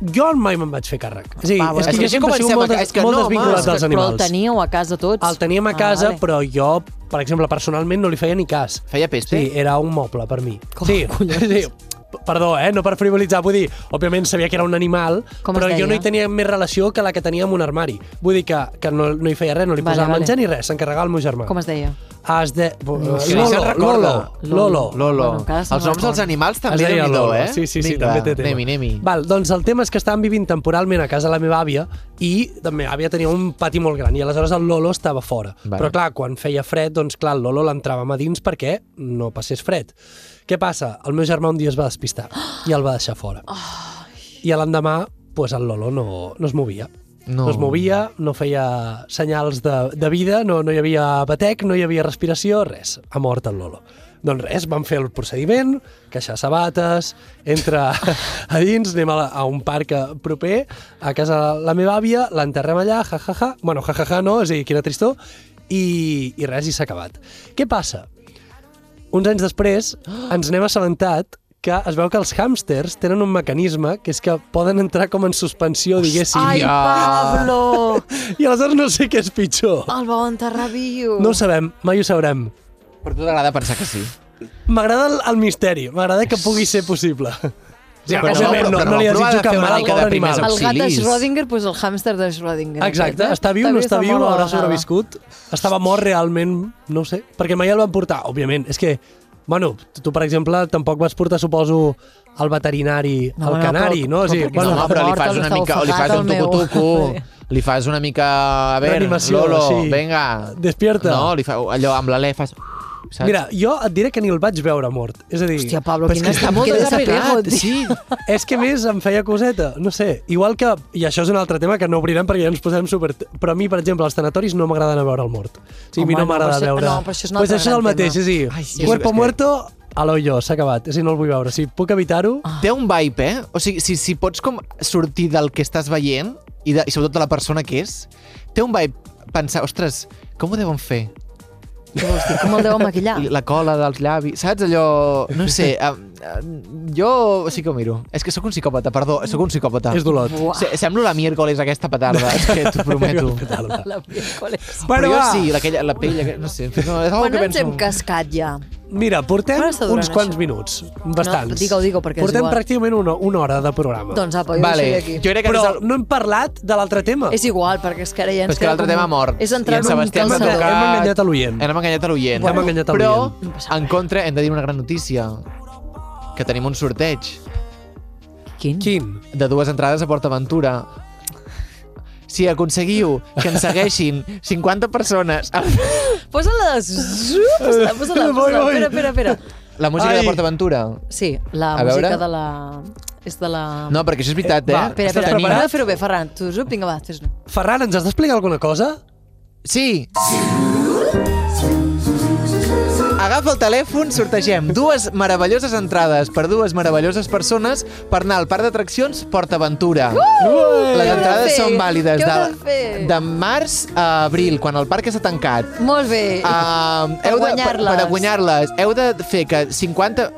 C: Jo mai me'n vaig fer càrrec. O sigui,
A: Va, bueno.
C: és que jo
A: És que
C: sempre he
A: comencem
C: sigut molt,
A: a-
C: des,
A: és que
C: molt
A: no, home,
C: desvinculat
A: és que-
C: dels
A: però el
C: animals.
A: teníeu a casa tots?
C: El teníem a
A: Ah,
C: casa,
A: vale.
C: però jo, per exemple, personalment no li feia ni cas.
B: Feia peste?
C: Sí, era un moble per mi. Com sí, sí, P- perdó, eh? no per frivolitzar, vull dir, òbviament sabia que era un animal,
A: Com es
C: però
A: deia?
C: jo no hi tenia més relació que la que tenia amb un armari. Vull dir que, que no, no hi feia res, no li
A: Vale,
C: posava
A: vale.
C: menjar ni res, s'encarregava el meu germà.
A: Com es deia?
C: Es de...
B: No sé, se'n recorda.
C: Lolo.
B: Lolo. Bueno, cada se'n Els noms recorda. dels animals també,
C: Es deia
B: déu-n'hi-do,
C: Lolo.
B: eh?
C: Sí, sí, sí,
B: Vinga,
C: també té tema.
B: anem-hi, anem-hi.
C: Val, doncs el tema és que estàvem vivint temporalment a casa de la meva àvia i la meva àvia tenia un pati molt gran i aleshores el Lolo estava fora.
B: Vale.
C: Però clar, quan feia fred, doncs clar, el Lolo l'entràvem a dins perquè no passés fred. Què passa? El meu germà un dia es va despistar i el va deixar fora. I l'endemà, pues, el Lolo no, no es movia.
B: No.
C: no es movia, no feia senyals de, de vida, no, no hi havia batec, no hi havia respiració, res. Ha mort el Lolo. Doncs res, vam fer el procediment, queixar sabates, entra a dins, anem a, la, a un parc eh, proper, a casa de la meva àvia, l'enterrem allà, ja, ja, ja. Bueno, ja, ja, ja, no, és a dir, quina tristor. I, i res, i s'ha acabat. Què passa? Uns anys després ens n'hem assabentat que es veu que els hàmsters tenen un mecanisme que és que poden entrar com en suspensió, diguéssim.
A: Ai, Pablo!
C: I aleshores no sé què és pitjor.
A: El vau enterrar viu.
C: No ho sabem, mai ho sabrem.
B: Però a tu t'agrada pensar que sí.
C: M'agrada el, el misteri, m'agrada que pugui ser possible.
B: Sí,
C: però,
B: però no,
C: òbviament, no,
B: però
C: no, li
B: no, però ha
C: desitjo
B: de
C: cap
B: fer una
C: mal al
B: mica de
C: pobre
B: primers
C: animal.
A: El gat de
B: Auxilis.
A: Schrödinger, doncs el hàmster de Schrödinger.
C: Exacte,
A: aquest, eh?
C: està viu,
A: També
C: no està viu,
A: molt
C: haurà
A: amagada.
C: sobreviscut. Estava mort realment, no ho sé, perquè mai el van portar, òbviament. És que, bueno, tu, tu, per exemple, tampoc vas portar, suposo, al veterinari,
B: No,
C: al
B: no,
C: canari,
B: però-
C: no? O sigui,
B: però- no, però li fas una mica- li fas un tucu-tucu, li fas una mica, a veure,
C: Reanimació,
B: Lolo,
C: sí.
B: venga.
C: Despierta.
B: No, li fa- allò, amb l'alè fas- saps?
C: Mira, jo et diré que ni el vaig veure mort. És a dir...
A: Hòstia, Pablo,
C: però és
A: quin
C: que
A: està
C: està
A: molt
C: molt
A: desapegado,
C: desapegado, És que a més em feia coseta, no sé. Igual que, i això és un altre tema que no obrirem perquè ja ens posem super... Però a mi, per exemple, als tanatoris no m'agrada anar a veure el mort. O sigui, a mi
A: Home,
C: no
A: no, però
C: m'agrada
A: això-
C: veure...
A: no, però això és un
C: pues
A: altre
C: això és el
A: gran
C: mateix,
A: tema.
C: és a
A: Ai, sí.
C: dir, cuerpo
B: És que-
C: muerto, a l'ollo, s'ha acabat. És a dir, no el vull veure. Si puc evitar-ho...
A: Ah.
B: Té un vibe, eh? O sigui, si, si pots com sortir del que estàs veient, i, de, i sobretot de la persona que és, té un vibe pensar, ostres, com ho deuen fer?
A: Què vols dir? Com el deuen maquillar?
B: La cola dels llavis, saps? Allò... No sé, um, um, jo sí que ho miro. És que sóc un psicòpata, perdó, sóc un psicòpata.
C: És d'Olot.
A: Buah.
B: Se, semblo la miércoles aquesta petarda, és que t'ho prometo.
A: La miércoles.
B: Però jo sí, aquella, la pell, aquella, no sé. No, és una
A: Quan
B: que
A: ens
B: penso...
A: hem cascat ja?
C: Mira, portem
A: Quant està durant,
C: uns quants minuts, bastants.
A: digue-ho, digue-ho, perquè és
C: portem
A: igual.
C: pràcticament una, una hora de programa.
A: Doncs apa, jo Vale, deixaré aquí. jo crec que
C: Però
A: des del-
C: no hem parlat de l'altre tema.
A: És igual, perquè és que ara ja ens
B: Però és que l'altre
A: com
B: tema ha
A: un-
B: mort.
A: És entrar
B: I en
A: en un
B: Sebastià ens ha
A: calçador.
B: tocat.
C: Hem enganyat a l'oient.
B: Hem enganyat a l'oient.
A: Hem enganyat a
B: Però,
A: l'oient. No passa
B: en contra, hem de dir una gran notícia. Que tenim un sorteig.
A: Quin?
C: Quin?
B: De dues entrades a PortAventura. Si aconseguiu que ens segueixin 50 persones...
A: Posa-la de...
B: Eh.
A: Posa-la, posa-la,
B: Voy,
A: posa-la.
B: voy.
A: Espera, espera, espera.
B: La música
A: Ai.
B: de PortAventura.
A: Sí, la
B: A
A: música
B: veure?
A: de la... És de la...
B: No, perquè això és veritat, eh?
A: Va, espera, espera,
B: Tenim-
A: preparat? fer-ho bé, Ferran. Tu, zup, vinga, va, fes-ho.
C: Ferran, ens has d'explicar alguna cosa?
B: Sí. Agafa el telèfon, sortegem dues meravelloses entrades per dues meravelloses persones per anar al parc d'atraccions PortAventura.
A: Uh! Què heu
B: Les
A: de
B: entrades
A: fer?
B: són vàlides
A: Què heu de
B: de,
A: fer?
B: de març a abril, quan el parc està tancat.
A: Molt bé.
B: Uh,
A: Eh, Per guanyar-les.
B: Per, per guanyar-les. Heu de fer que 50...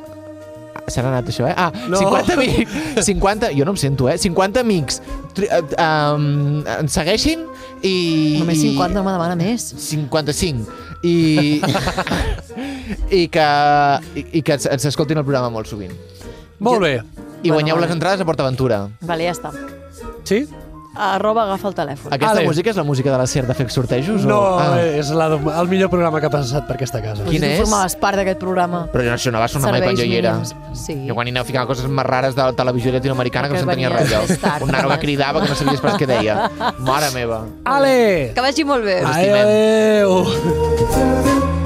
B: S'ha anat això, eh? Ah,
K: No.
B: no. 50 amics. 50... Jo no em sento, eh? 50 amics tri- eh, um, ens segueixin i...
A: Només 50
B: no
A: me demana més.
B: 55. I... I que, i, i que ens escoltin el programa molt sovint.
C: Molt bé.
B: I guanyeu
A: vale.
B: les entrades a PortAventura.
A: Vale, ja està.
C: Sí?
A: Arroba, agafa el telèfon.
B: Aquesta música és la música de la SER de fer sortejos?
C: No,
B: o...
C: ah. és la, el millor programa que ha passat per aquesta casa.
A: Quin és? Formaves part d'aquest programa.
B: Però jo això no va sonar mai quan
A: Serveis
B: jo hi era.
A: mínims. Sí.
B: Jo quan hi anava ficant coses més rares de la televisió latinoamericana que no
A: Perquè
B: s'entenia
A: venies
B: res
A: més tard,
B: allò. Un nano que
A: només.
B: cridava que no sabies pas què deia. Mare meva.
C: Ale!
A: Que vagi molt bé.
B: Us estimem.
C: Adéu!